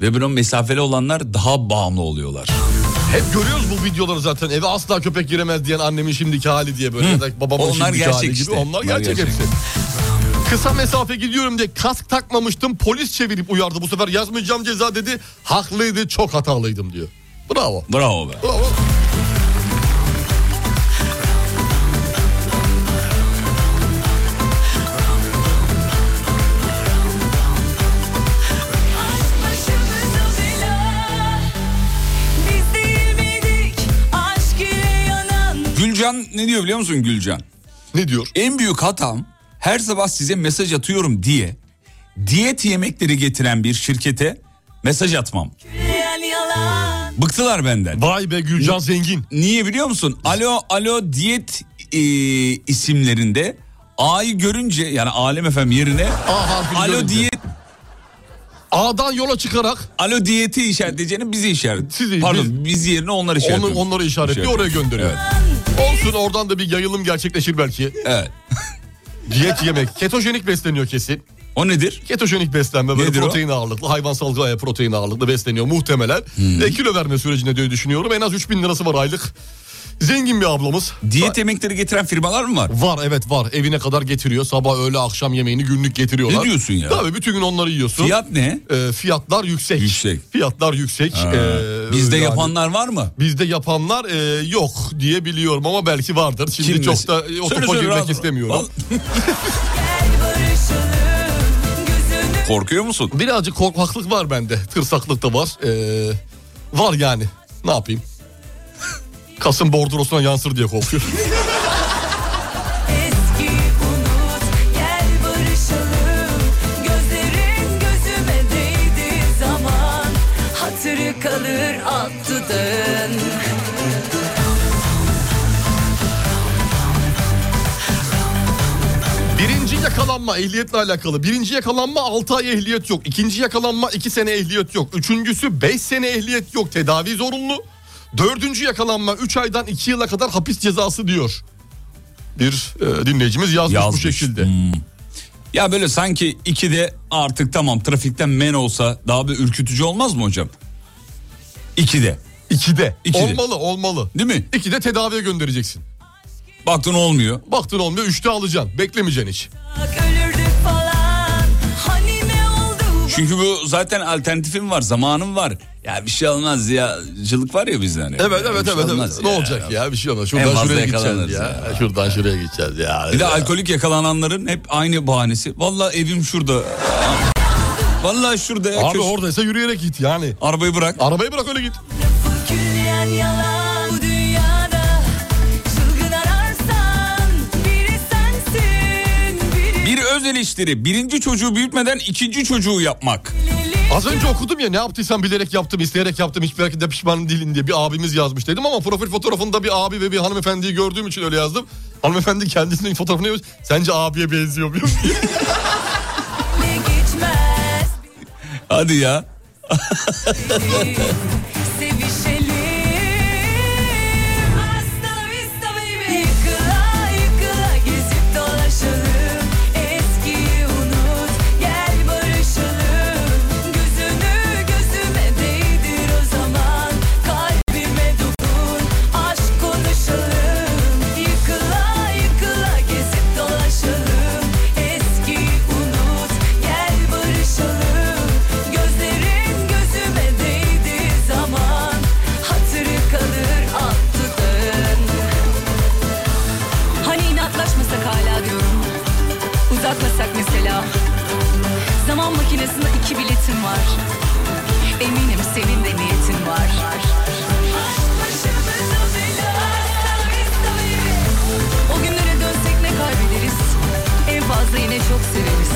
Speaker 5: Ve bunun mesafeli olanlar daha bağımlı oluyorlar.
Speaker 6: Hep görüyoruz bu videoları zaten eve asla köpek giremez diyen annemin şimdiki hali diye böyle
Speaker 5: Hı.
Speaker 6: ya da babamın
Speaker 5: Onlar
Speaker 6: şimdiki
Speaker 5: gerçek
Speaker 6: hali
Speaker 5: işte.
Speaker 6: gibi onlar
Speaker 5: Onlar
Speaker 6: gerçek,
Speaker 5: gerçek.
Speaker 6: hepsi. Kısa mesafe gidiyorum diye kask takmamıştım polis çevirip uyardı bu sefer yazmayacağım ceza dedi haklıydı çok hatalıydım diyor. Bravo.
Speaker 5: Bravo be.
Speaker 6: Bravo.
Speaker 19: Başımıza bela Biz değmedik aşk ile yanan
Speaker 5: Gülcan ne diyor biliyor musun Gülcan?
Speaker 6: Ne diyor?
Speaker 5: En büyük hatam her sabah size mesaj atıyorum diye diyet yemekleri getiren bir şirkete mesaj atmam.
Speaker 19: Yalan yalan
Speaker 5: Bıktılar benden.
Speaker 6: Vay be Gülcan zengin.
Speaker 5: Niye biliyor musun? Alo alo diyet e, isimlerinde A'yı görünce yani Alem efem yerine
Speaker 6: A harfini
Speaker 5: alo
Speaker 6: görünce.
Speaker 5: diyet
Speaker 6: A'dan yola çıkarak
Speaker 5: alo diyeti işaret edeceğini bizi işaret.
Speaker 6: Sizi,
Speaker 5: Pardon biz, yerine onları işaret.
Speaker 6: onu, onları
Speaker 5: şey
Speaker 6: işaretliyor oraya gönderiyor.
Speaker 5: Evet.
Speaker 6: Olsun oradan da bir yayılım gerçekleşir belki.
Speaker 5: evet.
Speaker 6: Diyet yemek. Ketojenik besleniyor kesin.
Speaker 5: O nedir?
Speaker 6: Ketojenik beslenme böyle
Speaker 5: Nedir o?
Speaker 6: protein ağırlıklı hayvansal gıda protein ağırlıklı besleniyor muhtemelen.
Speaker 5: Hmm.
Speaker 6: Ve kilo verme sürecinde diye düşünüyorum. En az 3000 lirası var aylık. Zengin bir ablamız.
Speaker 5: Diyet yemekleri getiren firmalar mı var?
Speaker 6: Var evet var. Evine kadar getiriyor. Sabah öğle akşam yemeğini günlük getiriyorlar.
Speaker 5: Ne diyorsun ya?
Speaker 6: Tabii bütün gün onları yiyorsun.
Speaker 5: Fiyat ne?
Speaker 6: Ee, fiyatlar yüksek.
Speaker 5: Yüksek.
Speaker 6: Fiyatlar yüksek.
Speaker 5: Ha,
Speaker 6: Ee,
Speaker 5: bizde
Speaker 6: yani
Speaker 5: yapanlar var mı?
Speaker 6: Bizde yapanlar e, yok diye biliyorum ama belki vardır. Şimdi
Speaker 5: Kim
Speaker 6: çok
Speaker 5: mes-
Speaker 6: da
Speaker 5: Söyle
Speaker 6: e, o topa
Speaker 5: söyle, rahat
Speaker 6: girmek
Speaker 5: ol.
Speaker 6: istemiyorum.
Speaker 5: Korkuyor musun?
Speaker 6: Birazcık korkaklık var bende. Tırsaklık da var. Ee, Var yani. Ne yapayım? Kasım bordrosuna yansır diye korkuyorum.
Speaker 19: Eski unut gel barışalım Gözlerin gözüme değdi zaman Hatırı kalır alt dudağın
Speaker 6: Birinci yakalanma ehliyetle alakalı. Birinci yakalanma 6 ay ehliyet yok. İkinci yakalanma 2 sene ehliyet yok. Üçüncüsü 5 sene ehliyet yok. Tedavi zorunlu. Dördüncü yakalanma 3 aydan 2 yıla kadar hapis cezası diyor. Bir e, dinleyicimiz yazmış, bu şekilde.
Speaker 5: Hmm. Ya böyle sanki ikide artık tamam trafikten men olsa daha bir ürkütücü olmaz mı hocam? İkide.
Speaker 6: İkide.
Speaker 5: İkide.
Speaker 6: Olmalı olmalı.
Speaker 5: Değil mi?
Speaker 6: İkide tedaviye göndereceksin.
Speaker 5: Baktın olmuyor.
Speaker 6: Baktın olmuyor 3'te alacaksın. Beklemeyeceksin hiç.
Speaker 19: Ölürdük falan Hani ne oldu
Speaker 5: Çünkü bu zaten alternatifim var, zamanım var. Ya bir şey olmaz ya. Cılık var ya bizde hani.
Speaker 6: Evet
Speaker 5: Ya
Speaker 6: evet
Speaker 5: bir şey
Speaker 6: evet.
Speaker 5: olmaz
Speaker 6: evet. Ne
Speaker 5: ya.
Speaker 6: olacak ya bir şey olmaz.
Speaker 5: En
Speaker 6: Şuradan
Speaker 5: fazla
Speaker 6: şuraya gideceğiz
Speaker 5: yakalanırız
Speaker 6: ya.
Speaker 5: ya.
Speaker 6: Şuradan şuraya gideceğiz ya.
Speaker 5: Bir de alkolik yakalananların hep aynı bahanesi. Vallahi evim şurada. Vallahi şurada ya.
Speaker 6: Abi
Speaker 5: köşe-
Speaker 6: oradaysa yürüyerek git yani.
Speaker 5: Arabayı bırak.
Speaker 6: Arabayı bırak öyle git.
Speaker 19: Külleyen Hani yalan bu dünyada Çılgın ararsan biri sensin biri
Speaker 5: Bir öz eleştiri. Birinci çocuğu büyütmeden ikinci çocuğu yapmak.
Speaker 6: Az önce okudum ya ne yaptıysam bilerek yaptım, isteyerek yaptım, hiçbir harekette pişman değilim diye bir abimiz yazmış dedim ama profil fotoğrafında bir abi ve bir hanımefendiyi gördüğüm için öyle yazdım. Hanımefendi kendisinin fotoğrafını yazmış. Sence abiye benziyor muyum?
Speaker 19: geçmez
Speaker 5: Hadi ya.
Speaker 19: Sevişelim Hasta vista baby Yıkıla yıkıla gezip dolaşalım Eskiyi unut gel barışalım Gözünü gözüme değdir o zaman Kalbime dokun aşk konuşalım Yıkıla yıkıla gezip dolaşalım Eskiyi unut gel barışalım Gözlerin gözüme değdi zaman Hatırı kalır alt dudağın Hani inatlaşmasak hala diyorum Uzatmasak mesela Zaman makinesinde iki biletim var Eminim senin de niyetin var O günlere dönsek ne kaybederiz En fazla yine çok severiz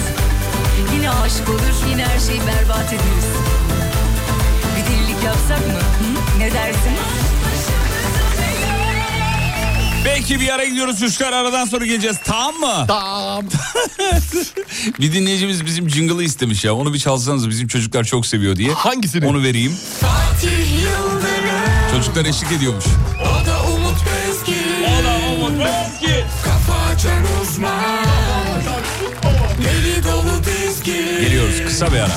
Speaker 19: Yine aşık olur yine her şeyi berbat ederiz Bir delilik yapsak mı? Hı? Ne dersin?
Speaker 5: Belki bir ara gidiyoruz Üçkar aradan sonra geleceğiz. Tamam mı?
Speaker 6: Tamam.
Speaker 5: bir dinleyicimiz bizim jingle'ı istemiş ya. Onu bir çalsanız bizim çocuklar çok seviyor diye. Hangisini? Onu vereyim.
Speaker 19: Fatih Yıldırım
Speaker 5: Çocuklar eşlik ediyormuş.
Speaker 19: O da Umut Bezgin O da Umut Bezgin Kafa açan uzman
Speaker 21: Deli dolu dizgin
Speaker 5: Geliyoruz kısa bir ara.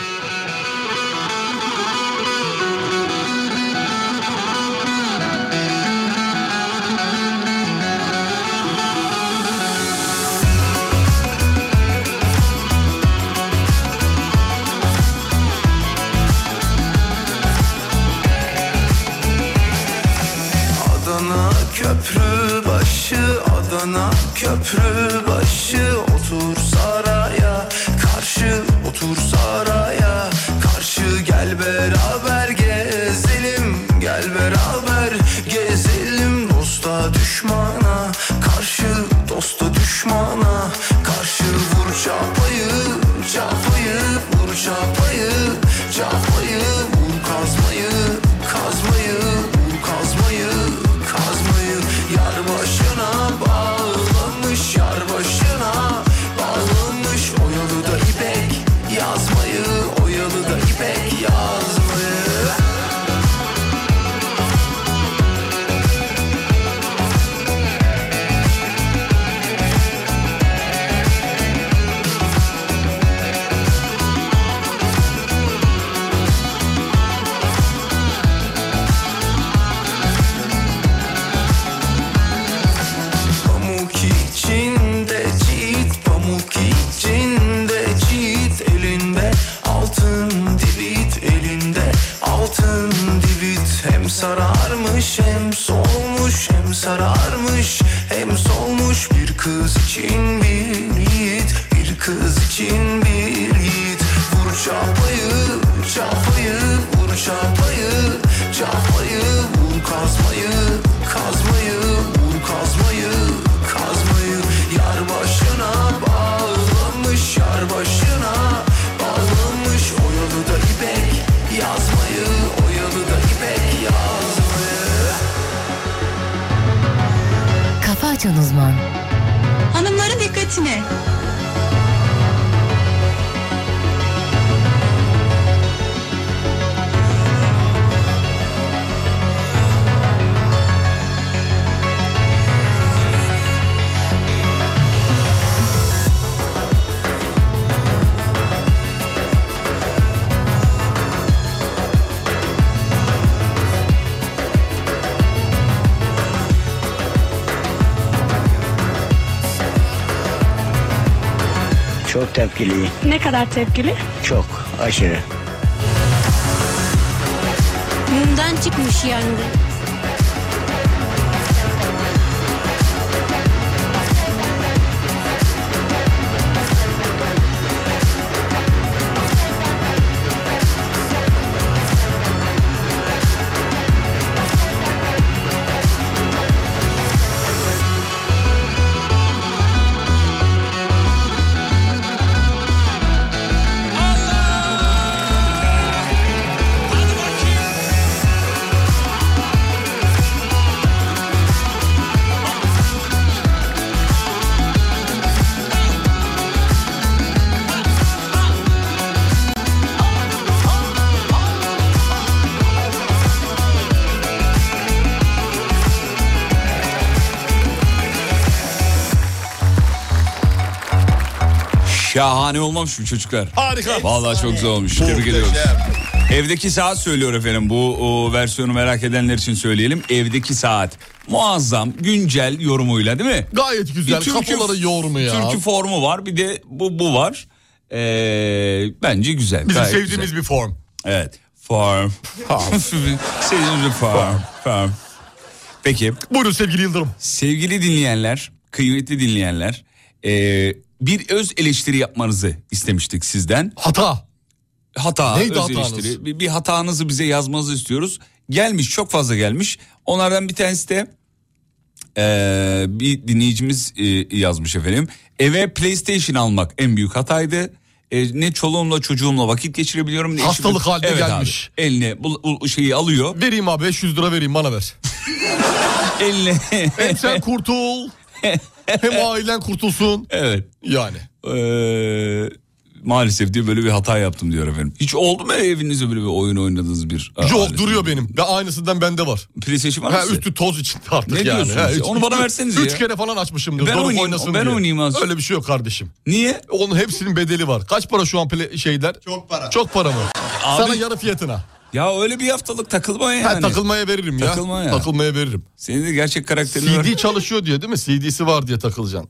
Speaker 3: Adana köprü başı Adana köprü başı Otur saraya karşı Otur saraya karşı Gel beraber gezelim Gel beraber gezelim Dosta düşmana karşı Dosta düşmana karşı Vur çapayı çapayı Vur çapayı çapayı Vur kazmayı kazmayı kazmayı kazmayı yar başına bağlanmış yar başına bağlanmış oyalı da ipek yazmayı oyalı da ipek yazmayı sarmış hem solmuş hem sararmış hem solmuş bir kız için bir yiğit bir kız için bir yiğit vur çapayı çapayı vur çapayı çapayı vur kazmayı kazmayı vur kazmayı kazmayı yar başına bağlamış yar başına bağlamış oyalı da ipek yazmayı oyalı da ipek yazmayı
Speaker 1: Kafa Açan Uzman
Speaker 22: Hanımların dikkatine.
Speaker 23: Çok tepkiliyim.
Speaker 24: Ne kadar tepkili?
Speaker 23: Çok aşırı.
Speaker 24: Mumdan çıkmış yangın.
Speaker 5: Şahane olmamış mı çocuklar?
Speaker 6: Harika.
Speaker 5: Vallahi çok güzel olmuş. Tebrik ediyoruz. Evdeki saat söylüyor efendim. Bu o, versiyonu merak edenler için söyleyelim. Evdeki saat. Muazzam, güncel yorumuyla değil mi?
Speaker 6: Gayet
Speaker 5: E,
Speaker 6: güzel. Kapıları yoğurma ya.
Speaker 5: Türkü formu var. Bir de bu bu var. Ee, bence güzel.
Speaker 6: Bizim
Speaker 5: gayet
Speaker 6: sevdiğimiz
Speaker 5: güzel.
Speaker 6: bir form.
Speaker 5: Evet. Form. sevdiğimiz bir form. Form. Peki.
Speaker 6: Buyurun sevgili Yıldırım.
Speaker 5: Sevgili dinleyenler, kıymetli dinleyenler. ee, bir öz eleştiri yapmanızı istemiştik sizden.
Speaker 6: Hata.
Speaker 5: Hata,
Speaker 6: Neydi
Speaker 5: öz
Speaker 6: hatanız?
Speaker 5: eleştiri. Bir, bir hatanızı bize yazmanızı istiyoruz. Gelmiş, çok fazla gelmiş. Onlardan bir tanesi de ee, bir dinleyicimiz e, yazmış efendim. Eve PlayStation almak en büyük hataydı. E, ne çoluğumla çocuğumla vakit geçirebiliyorum. Ne
Speaker 6: Hastalık
Speaker 5: işimi-
Speaker 6: haline
Speaker 5: Evet
Speaker 6: gelmiş.
Speaker 5: Abi, eline bu, bu şeyi alıyor.
Speaker 6: Vereyim abi 500 lira vereyim bana ver.
Speaker 5: eline.
Speaker 6: hem sen kurtul hem ailen kurtulsun.
Speaker 5: Evet. E,
Speaker 6: Yani.
Speaker 5: maalesef diyor böyle bir hata yaptım diyor efendim. Hiç oldu mu evinizde böyle bir oyun oynadığınız bir? e,
Speaker 6: Yok
Speaker 5: alet?
Speaker 6: duruyor benim. Ve aynısından bende var.
Speaker 5: PlayStation var mı
Speaker 6: ha,
Speaker 5: sizde?
Speaker 6: Üstü toz içinde artık
Speaker 5: Ne
Speaker 6: yani.
Speaker 5: diyorsunuz
Speaker 6: Ha,
Speaker 5: ya?
Speaker 6: üç-
Speaker 5: Onu bana
Speaker 6: üç-
Speaker 5: verseniz
Speaker 6: üç
Speaker 5: ya.
Speaker 6: kere falan açmışım.
Speaker 5: Ben
Speaker 6: Doruk
Speaker 5: oynayayım,
Speaker 6: oynasın
Speaker 5: ben
Speaker 6: diye.
Speaker 5: oynayayım az.
Speaker 6: Öyle bir şey yok kardeşim.
Speaker 5: Niye?
Speaker 6: Onun hepsinin bedeli var. Kaç para şu an pele- şeyler? Çok para. Çok para mı?
Speaker 5: Abi-
Speaker 6: Sana yarı fiyatına.
Speaker 5: Ya öyle bir haftalık takılma yani.
Speaker 6: Ha, takılmaya veririm ya.
Speaker 5: Takılma ya.
Speaker 6: Takılmaya veririm.
Speaker 5: Senin de gerçek karakterin
Speaker 6: CD
Speaker 5: var.
Speaker 6: çalışıyor diye değil mi? CD'si var diye takılacaksın.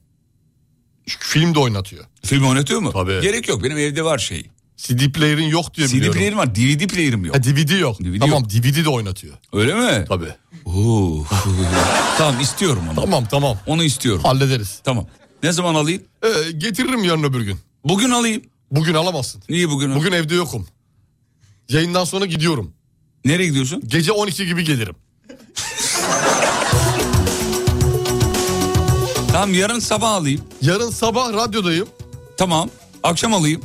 Speaker 6: Çünkü film de oynatıyor.
Speaker 5: Film oynatıyor mu?
Speaker 6: Tabii.
Speaker 5: Gerek yok benim evde var şey.
Speaker 6: CD player'in yok diye
Speaker 5: CD
Speaker 6: biliyorum.
Speaker 5: player'im var DVD player'im yok.
Speaker 6: Ha, DVD yok. tamam DVD de oynatıyor.
Speaker 5: Öyle mi?
Speaker 6: Tabii.
Speaker 5: Oo. tamam istiyorum onu.
Speaker 6: Tamam tamam.
Speaker 5: Onu istiyorum.
Speaker 6: Hallederiz.
Speaker 5: Tamam. Ne zaman alayım?
Speaker 6: Ee, getiririm yarın öbür gün.
Speaker 5: Bugün alayım.
Speaker 6: Bugün alamazsın.
Speaker 5: Niye bugün?
Speaker 6: Bugün evde yokum. Yayından sonra gidiyorum.
Speaker 5: Nereye gidiyorsun?
Speaker 6: Gece 12 gibi gelirim.
Speaker 5: Tamam yarın sabah alayım.
Speaker 6: Yarın sabah radyodayım.
Speaker 5: Tamam. Akşam alayım.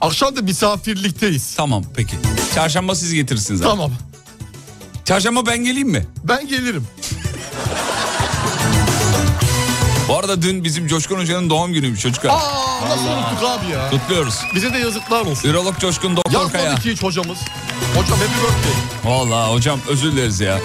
Speaker 6: Akşam da misafirlikteyiz.
Speaker 5: Tamam peki. Çarşamba siz getirirsiniz. abi.
Speaker 6: Tamam.
Speaker 5: Çarşamba ben geleyim mi?
Speaker 6: Ben gelirim.
Speaker 5: Bu arada dün bizim Coşkun Hoca'nın doğum günüymüş çocuklar.
Speaker 6: Aa, nasıl
Speaker 5: Allah.
Speaker 6: unuttuk abi ya?
Speaker 5: Kutluyoruz.
Speaker 6: Bize de yazıklar olsun.
Speaker 5: Ürolog Coşkun Doktor Kaya.
Speaker 6: Yazmadı ki hiç hocamız. Hocam happy birthday.
Speaker 5: Vallahi hocam özür dileriz ya.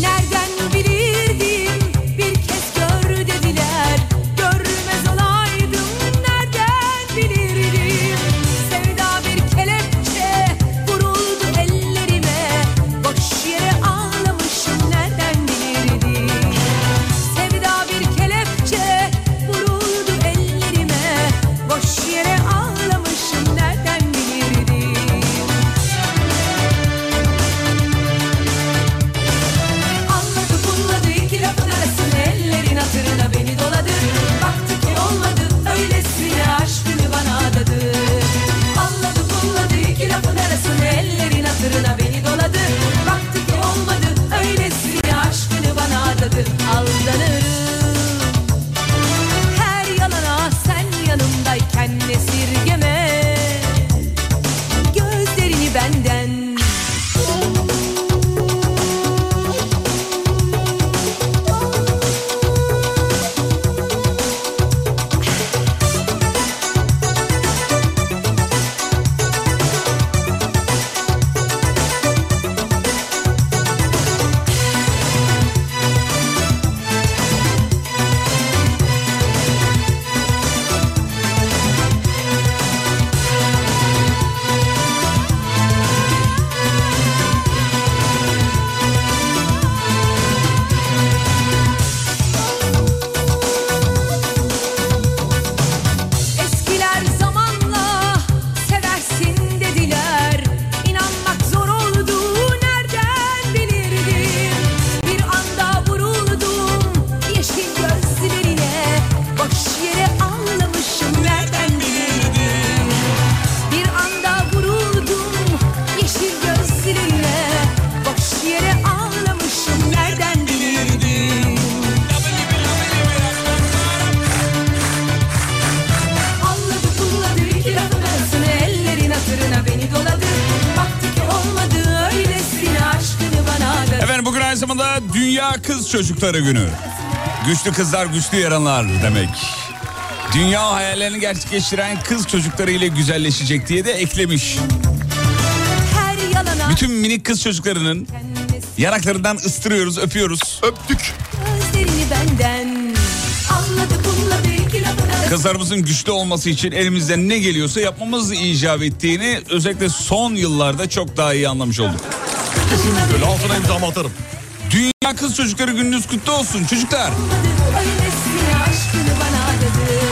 Speaker 19: Nereden bilirdim bir kez gör dediler Görmez olaydım nereden bilirdim Sevda bir kelepçe vuruldu ellerime Boş yere ağlamışım nereden bilirdim Sevda bir kelepçe
Speaker 5: aynı zamanda Dünya Kız Çocukları Günü. Güçlü kızlar güçlü yaranlar demek. Dünya hayallerini gerçekleştiren kız çocukları ile güzelleşecek diye de eklemiş.
Speaker 25: Her yalana
Speaker 5: Bütün minik kız çocuklarının yanaklarından ıstırıyoruz, öpüyoruz. Öptük.
Speaker 25: gözlerini benden Anladı bununla bir kilo bırak
Speaker 5: Kızlarımızın güçlü olması için elimizden ne geliyorsa yapmamız icap ettiğini özellikle son yıllarda çok daha iyi anlamış olduk. Kesinlikle. Altına imzamı atarım. Dünya Kız Çocukları gününüz kutlu olsun çocuklar.
Speaker 25: Öylesine aşkını bana adadı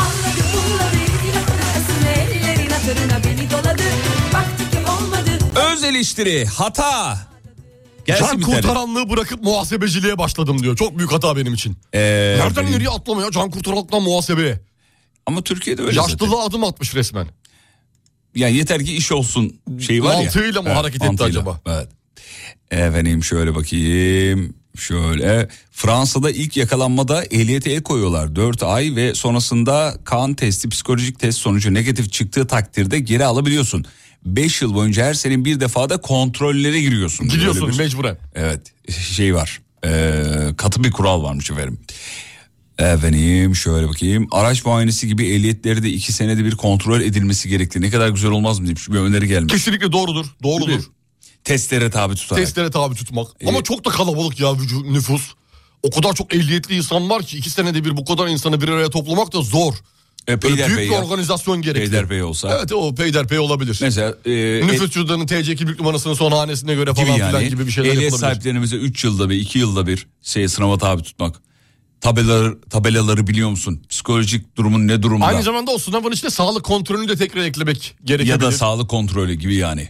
Speaker 25: Anladı bununla bir kilo bırakasın Ellerin hatırına beni doladı Baktı ki olmadı
Speaker 5: Öz eleştiri, hata. Gelsin
Speaker 6: can
Speaker 5: bir tane.
Speaker 6: kurtaranlığı bırakıp muhasebeciliğe başladım diyor. Çok büyük hata benim için.
Speaker 5: Ee,
Speaker 6: Nereden nereye atlama ya can kurtaranlıktan muhasebeye.
Speaker 5: Ama Türkiye'de öyle
Speaker 6: Yaşlılığa adım atmış resmen.
Speaker 5: Ya yeter ki iş olsun şeyi var ya.
Speaker 6: Mantığıyla mı
Speaker 5: Evet,
Speaker 6: hareket etti
Speaker 5: mantığıyla.
Speaker 6: acaba?
Speaker 5: Evet. Efendim şöyle bakayım. Şöyle Fransa'da ilk yakalanmada ehliyete el koyuyorlar 4 ay ve sonrasında kan testi psikolojik test sonucu negatif çıktığı takdirde geri alabiliyorsun. 5 yıl boyunca her senin bir defada kontrollere giriyorsun.
Speaker 6: Gidiyorsun
Speaker 5: Böyle bir- şey.
Speaker 6: mecburen.
Speaker 5: Evet şey var Ee, katı bir kural varmış efendim. Efendim şöyle bakayım. Araç muayenesi gibi ehliyetleri de iki senede bir kontrol edilmesi gerekli. Ne kadar güzel olmaz mı demiş bir öneri gelmiş.
Speaker 6: Kesinlikle doğrudur. Doğrudur.
Speaker 5: Testlere tabi tutarak.
Speaker 6: Testlere tabi tutmak. Ama çok da kalabalık ya vücu- nüfus. O kadar çok ehliyetli insan var ki iki senede bir bu kadar insanı bir araya toplamak da zor. Böyle
Speaker 5: E, peyderpey
Speaker 6: büyük bir
Speaker 5: ya.
Speaker 6: organizasyon gerekli.
Speaker 5: Peyderpey olsa.
Speaker 6: Evet o peyderpey olabilir.
Speaker 5: Mesela e,
Speaker 6: nüfus cüzdanının TC kimlik numarasının son hanesine göre falan
Speaker 5: gibi
Speaker 6: filan
Speaker 5: yani.
Speaker 6: gibi bir şeyler
Speaker 5: Ehliyet
Speaker 6: yapılabilir.
Speaker 5: sahiplerimize 3 yılda bir 2 yılda bir şey, sınava tabi tutmak. Tabelaları, tabelaları biliyor musun? Psikolojik durumun ne durumda?
Speaker 6: Aynı zamanda o sınavın içinde sağlık kontrolünü de tekrar eklemek gerekebilir.
Speaker 5: Ya da sağlık kontrolü gibi yani.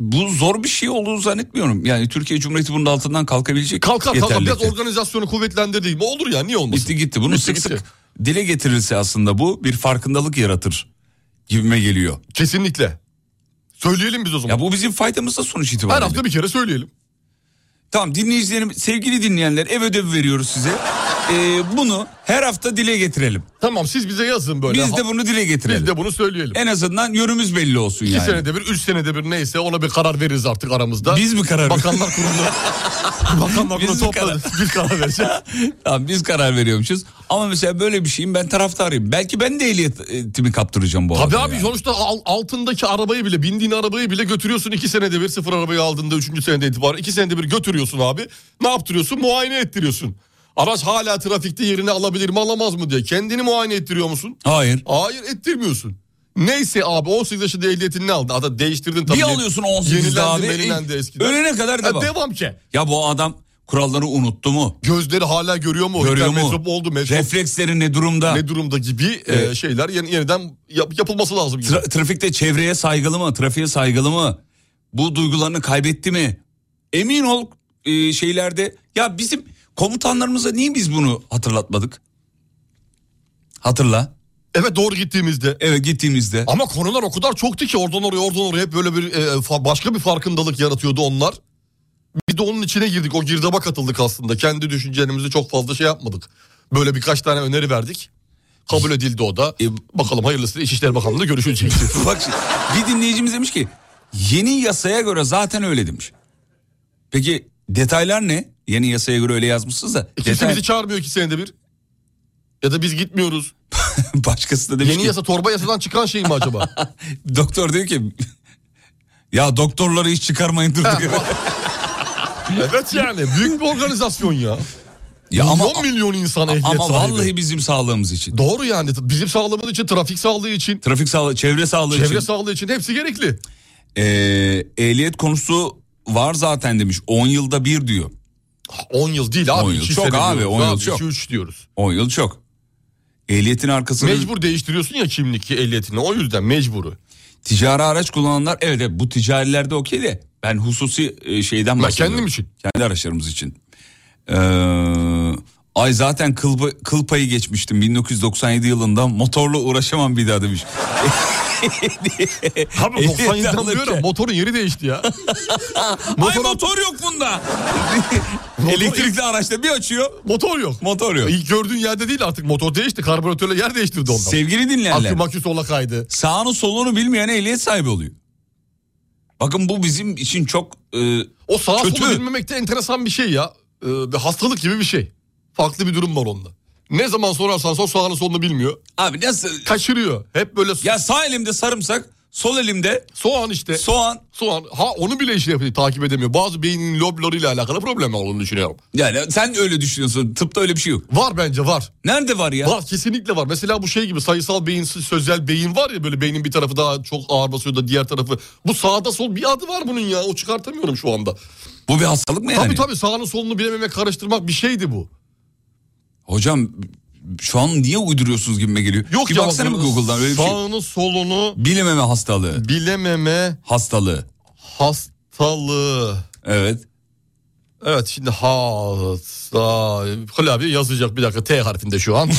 Speaker 5: Bu zor bir şey olduğunu zannetmiyorum. Yani Türkiye Cumhuriyeti bunun altından kalkabilecek.
Speaker 6: Kalkar kalkar biraz
Speaker 5: yeterlikte.
Speaker 6: organizasyonu kuvvetlendirdiğim olur ya niye olmasın?
Speaker 5: Gitti gitti. Bunu
Speaker 6: Gitti,
Speaker 5: sık
Speaker 6: gitti.
Speaker 5: sık dile getirilse aslında bu bir farkındalık yaratır gibime geliyor.
Speaker 6: Kesinlikle. Söyleyelim biz o zaman.
Speaker 5: Ya bu bizim faydamızda sonuç
Speaker 6: Her
Speaker 5: itibariyle.
Speaker 6: hafta bir kere söyleyelim.
Speaker 5: Tamam dinleyicilerim, sevgili dinleyenler ev ödevi veriyoruz size. Ee, bunu her hafta dile getirelim.
Speaker 6: Tamam siz bize yazın böyle.
Speaker 5: Biz de bunu dile getirelim.
Speaker 6: Biz de bunu söyleyelim.
Speaker 5: En azından yönümüz belli olsun
Speaker 6: İki
Speaker 5: yani.
Speaker 6: senede bir, üç senede bir neyse ona bir karar veririz artık aramızda.
Speaker 5: Biz mi karar
Speaker 6: Bakanlar kurulu. Bakanlar kurulu topladı. Biz karar vereceğiz.
Speaker 5: tamam biz karar veriyormuşuz. Ama mesela böyle bir şeyin ben taraftarıyım. Belki ben de ehliyetimi kaptıracağım bu
Speaker 6: Tabii
Speaker 5: arada.
Speaker 6: abi
Speaker 5: yani.
Speaker 6: sonuçta al- altındaki arabayı bile bindiğin arabayı bile götürüyorsun iki senede bir sıfır arabayı aldığında üçüncü senede itibaren iki senede bir götürüyorsun abi. Ne yaptırıyorsun muayene ettiriyorsun. Araç hala trafikte yerini alabilir mi alamaz mı diye kendini muayene ettiriyor musun?
Speaker 5: Hayır.
Speaker 6: Hayır ettirmiyorsun. Neyse abi 18 yaşında ehliyetini ne aldın? Hatta değiştirdin tabii.
Speaker 5: Bir alıyorsun 18'de abi.
Speaker 6: Yenilendin, yenilendi
Speaker 5: e,
Speaker 6: eskiden.
Speaker 5: Ölene kadar
Speaker 6: Ha,
Speaker 5: devam.
Speaker 6: devam ki.
Speaker 5: Ya bu adam kuralları unuttu mu?
Speaker 6: Gözleri hala görüyor mu?
Speaker 5: Görüyor mu?
Speaker 6: Hipermetrop oldu metrop.
Speaker 5: Refleksleri ne durumda?
Speaker 6: Ne durumda gibi e,
Speaker 5: Evet.
Speaker 6: şeyler yeni- yeniden yap- yapılması lazım. gibi.
Speaker 5: Tra- trafikte çevreye saygılı mı? Trafiğe saygılı mı? Bu duygularını kaybetti mi? Emin ol e, şeylerde ya bizim komutanlarımıza niye biz bunu hatırlatmadık? Hatırla.
Speaker 6: Evet doğru gittiğimizde.
Speaker 5: Evet gittiğimizde.
Speaker 6: Ama konular o kadar çoktu ki oradan oraya oradan oraya hep böyle bir e, fa- başka bir farkındalık yaratıyordu onlar. Biz de onun içine girdik. O girdaba katıldık aslında. Kendi düşüncelerimizi çok fazla şey yapmadık. Böyle birkaç tane öneri verdik. Kabul edildi o da.
Speaker 5: E,
Speaker 6: Bakalım hayırlısı İçişleri Bakanlığı'nda görüşülecek.
Speaker 5: Bak şimdi, bir dinleyicimiz demiş ki yeni yasaya göre zaten öyle demiş. Peki detaylar ne? Yeni yasaya göre öyle yazmışsınız da.
Speaker 6: E, Kimse
Speaker 5: detay-
Speaker 6: bizi çağırmıyor iki senede bir. Ya da biz gitmiyoruz.
Speaker 5: Başkası da demiş
Speaker 6: Yeni
Speaker 5: ki-
Speaker 6: yasa torba yasadan çıkan şey mi acaba?
Speaker 5: Doktor diyor ki ya doktorları hiç çıkarmayın durduk yere."
Speaker 6: evet yani büyük bir organizasyon ya.
Speaker 5: Ya ama-
Speaker 6: milyon milyon insan ehliyet
Speaker 5: Ama
Speaker 6: sahibi.
Speaker 5: vallahi bizim sağlığımız için.
Speaker 6: Doğru yani bizim sağlığımız için, trafik sağlığı için.
Speaker 5: Trafik sağlığı, çevre sağlığı
Speaker 6: Çevre
Speaker 5: için.
Speaker 6: sağlığı için hepsi gerekli.
Speaker 5: Ee, ehliyet konusu var zaten demiş. 10 yılda bir diyor.
Speaker 6: 10 yıl değil abi.
Speaker 5: On yıl
Speaker 6: iki
Speaker 5: çok
Speaker 6: sene
Speaker 5: abi.
Speaker 6: diyoruz
Speaker 5: 10 yıl
Speaker 6: abi,
Speaker 5: çok.
Speaker 6: iki, üç diyoruz.
Speaker 5: 10 yıl çok. Ehliyetin arkasını...
Speaker 6: Mecbur değiştiriyorsun ya kimlik ehliyetini o yüzden mecburu.
Speaker 5: Ticari araç kullananlar evet evet, bu ticarilerde okey de ben hususi e, şeyden bahsediyorum.
Speaker 6: kendim için.
Speaker 5: Kendi araçlarımız için. Ee, ay zaten kıl, pa- kıl payı geçmiştim 1997 yılında motorla uğraşamam bir daha demiş.
Speaker 6: Abi 97'den diyorum motorun yeri değişti ya.
Speaker 5: Ay motor yok bunda. Elektrikli araçta bir açıyor.
Speaker 6: Motor yok.
Speaker 5: Motor yok.
Speaker 6: İlk gördüğün yerde değil artık motor değişti. Karbüratörle yer değiştirdi ondan.
Speaker 5: Sevgili dinleyenler.
Speaker 6: Akü makü sola kaydı.
Speaker 5: Sağını solunu bilmeyen ehliyet sahibi oluyor. Bakın bu bizim için çok e,
Speaker 6: O sağ
Speaker 5: kötü.
Speaker 6: solu bilmemek de enteresan bir şey ya. Ee, bir hastalık gibi bir şey. Farklı bir durum var onda. Ne zaman sorarsan sor sağını solunu bilmiyor.
Speaker 5: Abi nasıl?
Speaker 6: Kaçırıyor. Hep böyle.
Speaker 5: Ya sağ elimde sarımsak, sol elimde
Speaker 6: soğan işte.
Speaker 5: Soğan.
Speaker 6: Soğan. Ha onu bile şey yapıyor, takip edemiyor. Bazı beynin loblarıyla alakalı problem olduğunu düşünüyorum.
Speaker 5: Yani sen öyle düşünüyorsun. Tıpta öyle bir şey yok.
Speaker 6: Var bence var.
Speaker 5: Nerede var ya?
Speaker 6: Var kesinlikle var. Mesela bu şey gibi sayısal beyin, sözel beyin var ya böyle beynin bir tarafı daha çok ağır basıyor da diğer tarafı. Bu sağda sol bir adı var bunun ya o çıkartamıyorum şu anda.
Speaker 5: Bu bir hastalık mı yani?
Speaker 6: Tabii tabii sağını solunu bilememek karıştırmak bir şeydi bu.
Speaker 5: Hocam şu an niye uyduruyorsunuz gibime geliyor?
Speaker 6: Yok
Speaker 5: bir
Speaker 6: ya,
Speaker 5: baksana bir
Speaker 6: bu-
Speaker 5: Google'dan öyle bir şey.
Speaker 6: Sağını solunu
Speaker 5: Bilememe hastalığı.
Speaker 6: bilememe
Speaker 5: Hastalığı.
Speaker 6: hastalığı.
Speaker 5: Evet.
Speaker 6: Evet şimdi hasta klavye yazacak bir dakika T harfinde şu an.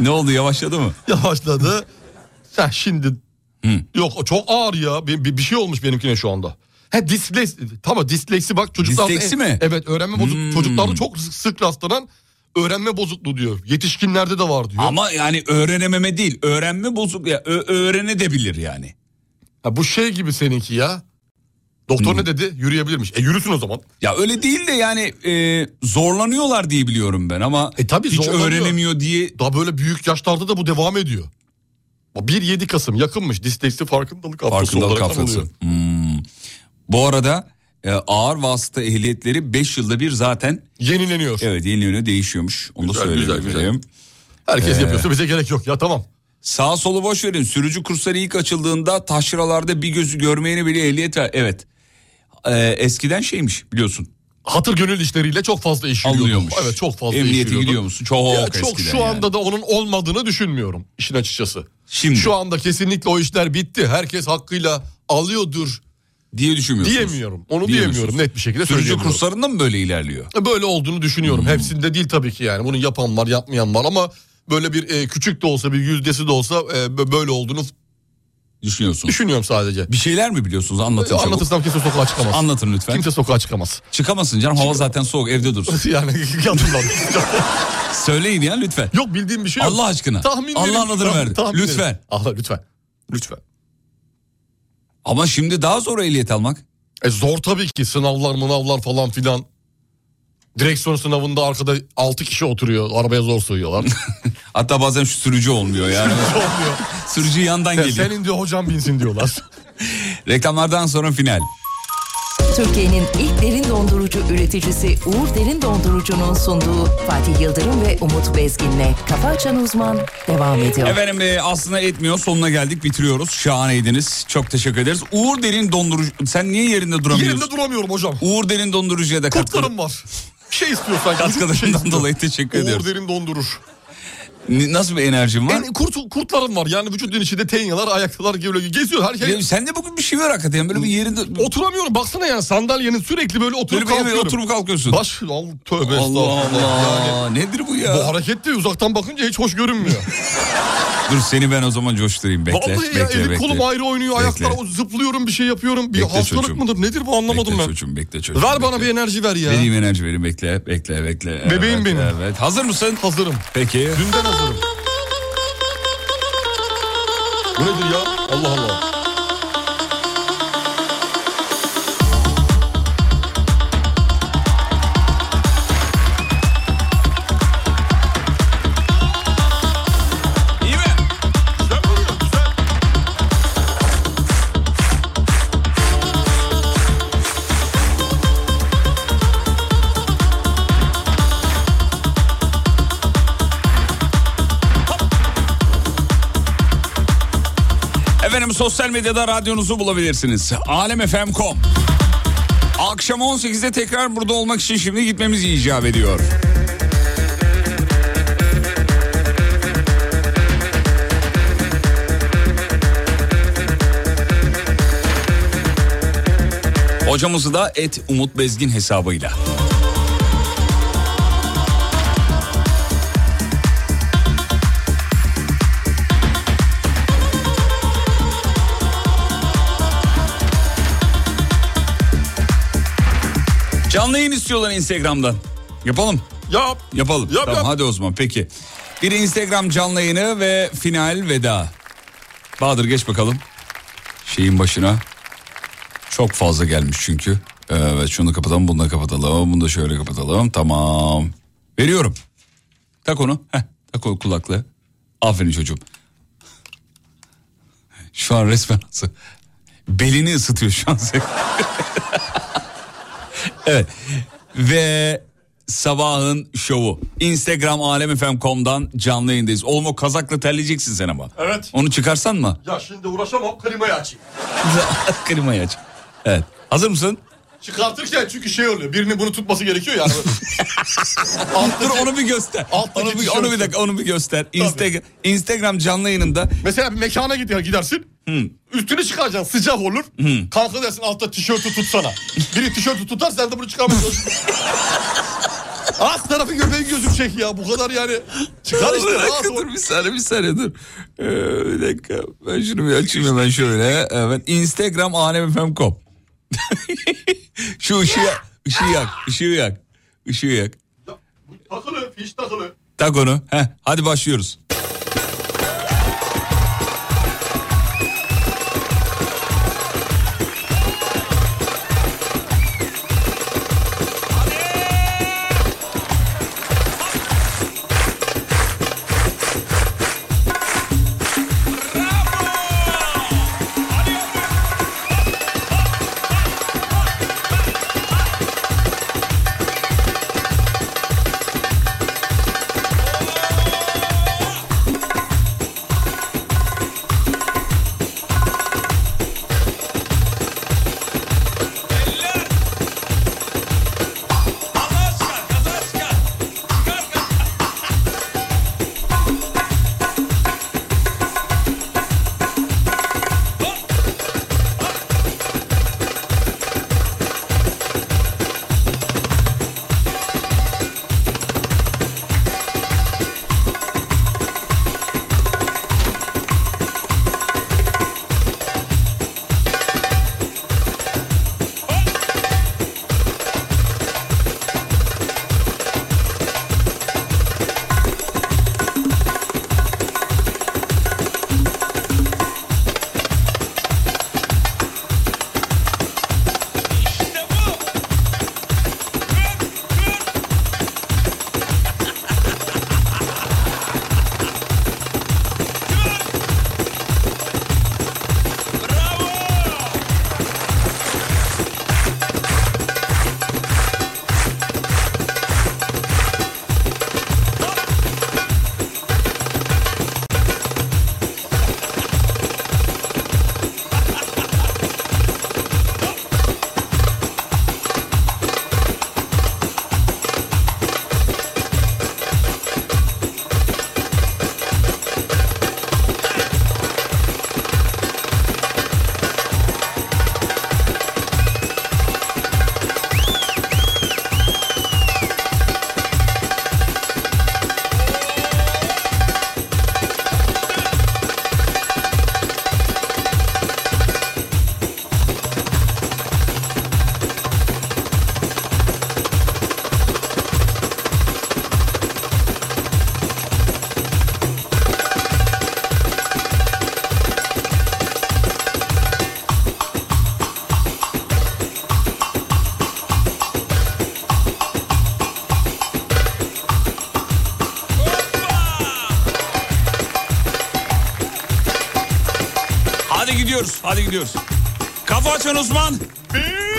Speaker 5: ne oldu yavaşladı mı?
Speaker 6: Yavaşladı. Ha, şimdi yok o çok ağır ya bir, bir, bir şey olmuş benimkine şu anda. He disleksi tamam disleksi bak çocuklarda.
Speaker 5: Disleksi mi? Hmm.
Speaker 6: Evet öğrenme bozuk çocuklarda çok sık- sık rastlanan öğrenme bozukluğu diyor. Yetişkinlerde de var diyor.
Speaker 5: Ama yani öğrenememe değil. Öğrenme bozuk ya ö- öğrenedebilir yani.
Speaker 6: Ha, bu şey gibi seninki ya. Doktor
Speaker 5: Hmm.
Speaker 6: ne dedi? Yürüyebilirmiş. E yürüsün o zaman.
Speaker 5: Ya öyle değil de yani e, zorlanıyorlar diye biliyorum ben ama hiç
Speaker 6: E zorlanıyor.
Speaker 5: öğrenemiyor diye
Speaker 6: Daha böyle büyük yaşlarda da bu devam ediyor. 1-7 Kasım yakınmış. Disleksi farkındalık haftası
Speaker 5: farkındalık
Speaker 6: olarak
Speaker 5: haftası.
Speaker 6: anılıyor.
Speaker 5: Hmm. Bu arada e, ağır vasıta ehliyetleri 5 yılda bir zaten
Speaker 6: yenileniyor.
Speaker 5: Evet yenileniyor değişiyormuş. Onu da söyleyeyim.
Speaker 6: güzel, güzel. Herkes
Speaker 5: Ee,
Speaker 6: yapıyorsa bize gerek yok ya tamam.
Speaker 5: Sağ solu boş verin. Sürücü kursları ilk açıldığında taşralarda bir gözü görmeyene bile ehliyet ver. Evet. Ee, eskiden şeymiş biliyorsun.
Speaker 6: Hatır gönül işleriyle çok fazla iş yürüyordu.
Speaker 5: Alınıyormuş.
Speaker 6: Evet çok fazla iş
Speaker 5: Emniyete
Speaker 6: yürüyordu.
Speaker 5: gidiyor musun? Çok
Speaker 6: Ya çok
Speaker 5: eskiden
Speaker 6: şu
Speaker 5: yani.
Speaker 6: anda da onun olmadığını düşünmüyorum işin açıkçası.
Speaker 5: Şimdi.
Speaker 6: Şu anda kesinlikle o işler bitti. Herkes hakkıyla alıyordur.
Speaker 5: Diye düşünmüyorsunuz.
Speaker 6: Diyemiyorum. Onu
Speaker 5: Diyemiyorsunuz.
Speaker 6: diyemiyorum net bir şekilde
Speaker 5: Sürücü Hmm.
Speaker 6: söyleyemiyorum.
Speaker 5: kurslarında mı böyle ilerliyor?
Speaker 6: Böyle olduğunu düşünüyorum. Hepsinde değil tabii ki yani. Bunu yapan var yapmayan var ama böyle bir e, küçük de olsa bir yüzdesi de olsa e, bö- böyle olduğunu
Speaker 5: Düşünüyorsunuz.
Speaker 6: düşünüyorum sadece.
Speaker 5: Bir şeyler mi biliyorsunuz? Anlatın çabuk.
Speaker 6: Anlatırsam kimse sokağa çıkamaz.
Speaker 5: Anlatın lütfen.
Speaker 6: Kimse sokağa çıkamaz.
Speaker 5: Çıkamasın canım hava zaten soğuk evde dursun.
Speaker 6: yani yatırlar.
Speaker 5: Söyleyin ya lütfen.
Speaker 6: Yok bildiğim bir şey yok.
Speaker 5: Allah aşkına.
Speaker 6: Tahmin
Speaker 5: Allah'ın adını ver. Lütfen.
Speaker 6: Allah lütfen. Lütfen.
Speaker 5: Ama şimdi daha zor ehliyet almak.
Speaker 6: E zor tabii ki sınavlar mınavlar falan filan. Direksiyon sınavında arkada 6 kişi oturuyor. Arabaya zor soyuyorlar.
Speaker 5: Hatta bazen şu sürücü olmuyor yani. sürücü yandan
Speaker 6: Ya
Speaker 5: geliyor.
Speaker 6: Senin diyor hocam binsin diyorlar.
Speaker 5: Reklamlardan sonra final.
Speaker 1: Türkiye'nin ilk derin dondurucu üreticisi Uğur Derin Dondurucu'nun sunduğu Fatih Yıldırım ve Umut Bezgin'le Kafa Açan Uzman devam ediyor.
Speaker 5: Efendim e, aslında etmiyor sonuna geldik bitiriyoruz. Şahaneydiniz. Çok teşekkür ederiz. Uğur Derin Dondurucu. Sen niye yerinde duramıyorsun?
Speaker 6: Yerinde duramıyorum hocam.
Speaker 5: Uğur Derin Dondurucu'ya da katkı...
Speaker 6: Kurtlarım var. Bir şey istiyor sanki. Bir şey
Speaker 5: katkılarından
Speaker 6: istiyor.
Speaker 5: dolayı teşekkür
Speaker 6: Uğur
Speaker 5: ediyoruz.
Speaker 6: derin dondurur.
Speaker 5: N- Nasıl bir enerjin var?
Speaker 6: Yani kurt, kurtlarım var. Yani vücudun içinde tenyalar, ayaklar gibi geziyor. Her şey...
Speaker 5: Ya sen de bugün bir şey var hakikaten. Böyle bir yerinde...
Speaker 6: Oturamıyorum. Baksana yani sandalyenin sürekli böyle oturup
Speaker 5: Böyle bir yere
Speaker 6: kalkıyorum.
Speaker 5: oturup kalkıyorsun.
Speaker 6: Baş... Al, tövbe
Speaker 5: Allah
Speaker 6: estağfurullah.
Speaker 5: Allah. Nedir bu ya?
Speaker 6: Bu hareket de uzaktan bakınca hiç hoş görünmüyor.
Speaker 5: Dur seni ben o zaman coşturayım. Bekle.
Speaker 6: Vallahi
Speaker 5: bekle,
Speaker 6: ya elim
Speaker 5: bekle.
Speaker 6: kolum ayrı oynuyor.
Speaker 5: Bekle.
Speaker 6: Ayaklar o- zıplıyorum bir şey yapıyorum. Bir
Speaker 5: Bekle
Speaker 6: hastalık
Speaker 5: çocuğum.
Speaker 6: mıdır nedir bu anlamadım
Speaker 5: Bekle
Speaker 6: ben.
Speaker 5: çocuğum bekle çocuğum.
Speaker 6: Ver bana bir enerji ver ya.
Speaker 5: Vereyim enerji vereyim bekle bekle bekle.
Speaker 6: Bebeğim
Speaker 5: Evet,
Speaker 6: benim.
Speaker 5: Evet. Hazır mısın?
Speaker 6: Hazırım.
Speaker 5: Peki.
Speaker 6: Dünden hazırım. Bu nedir ya? Allah Allah.
Speaker 5: İyi mi? Efendim sosyal medyada radyonuzu bulabilirsiniz. Alemfm.com Akşam 18'de tekrar burada olmak için şimdi gitmemiz icap ediyor. Hocamızı da et Umut Bezgin hesabıyla. Canlı yayın istiyorlar Instagram'dan. Yapalım.
Speaker 6: Yap.
Speaker 5: Yapalım.
Speaker 6: Yap,
Speaker 5: tamam
Speaker 6: yap.
Speaker 5: hadi o zaman peki. Bir Instagram canlı yayını ve final veda. Bahadır geç bakalım. şeyin başına. Çok fazla gelmiş çünkü. Evet şunu kapatalım bunu da kapatalım bunu da şöyle kapatalım tamam. Veriyorum. Tak onu. Heh, tak o kulaklığı. Aferin çocuğum. Şu an resmen nasıl? Belini ısıtıyor şu an senin. evet. Ve sabahın şovu. Instagram alemfm.com'dan canlı yayındayız. Olma kazakla terleyeceksin sen ama.
Speaker 6: Evet.
Speaker 5: Onu çıkarsan mı?
Speaker 6: Ya şimdi uğraşamam klimayı açayım.
Speaker 5: Klimayı aç. Evet. Hazır mısın?
Speaker 6: Çıkartırken çünkü şey oluyor. Birinin bunu tutması gerekiyor yani.
Speaker 5: Dur onu bir göster. Onu bir, onu bir dakika onu bir göster. Instagram, Instagram canlı yayınında.
Speaker 6: Mesela bir mekana gider, gidersin. Üstünü çıkaracaksın sıcak olur.
Speaker 5: Hı.
Speaker 6: Kalka dersin altta tişörtü tutsana. Biri tişörtü tutar sen de bunu çıkarmıyorsun. Alt tarafı göbeği gözükecek ya bu kadar yani. Çıkar işte.
Speaker 5: Bir
Speaker 6: rahat
Speaker 5: dakika,
Speaker 6: ol.
Speaker 5: dur bir saniye bir saniye dur. Ee, bir dakika ben şunu bir açayım hemen şöyle. Evet Instagram e alemfm.com Şu ışığı, ışığı yak, ışığı yak, ışığı yak.
Speaker 6: Takılı fiş takılı.
Speaker 5: Tak onu. Heh, hadi başlıyoruz. Hadi gidiyoruz, hadi gidiyoruz. Kafa açan Osman.
Speaker 6: Bir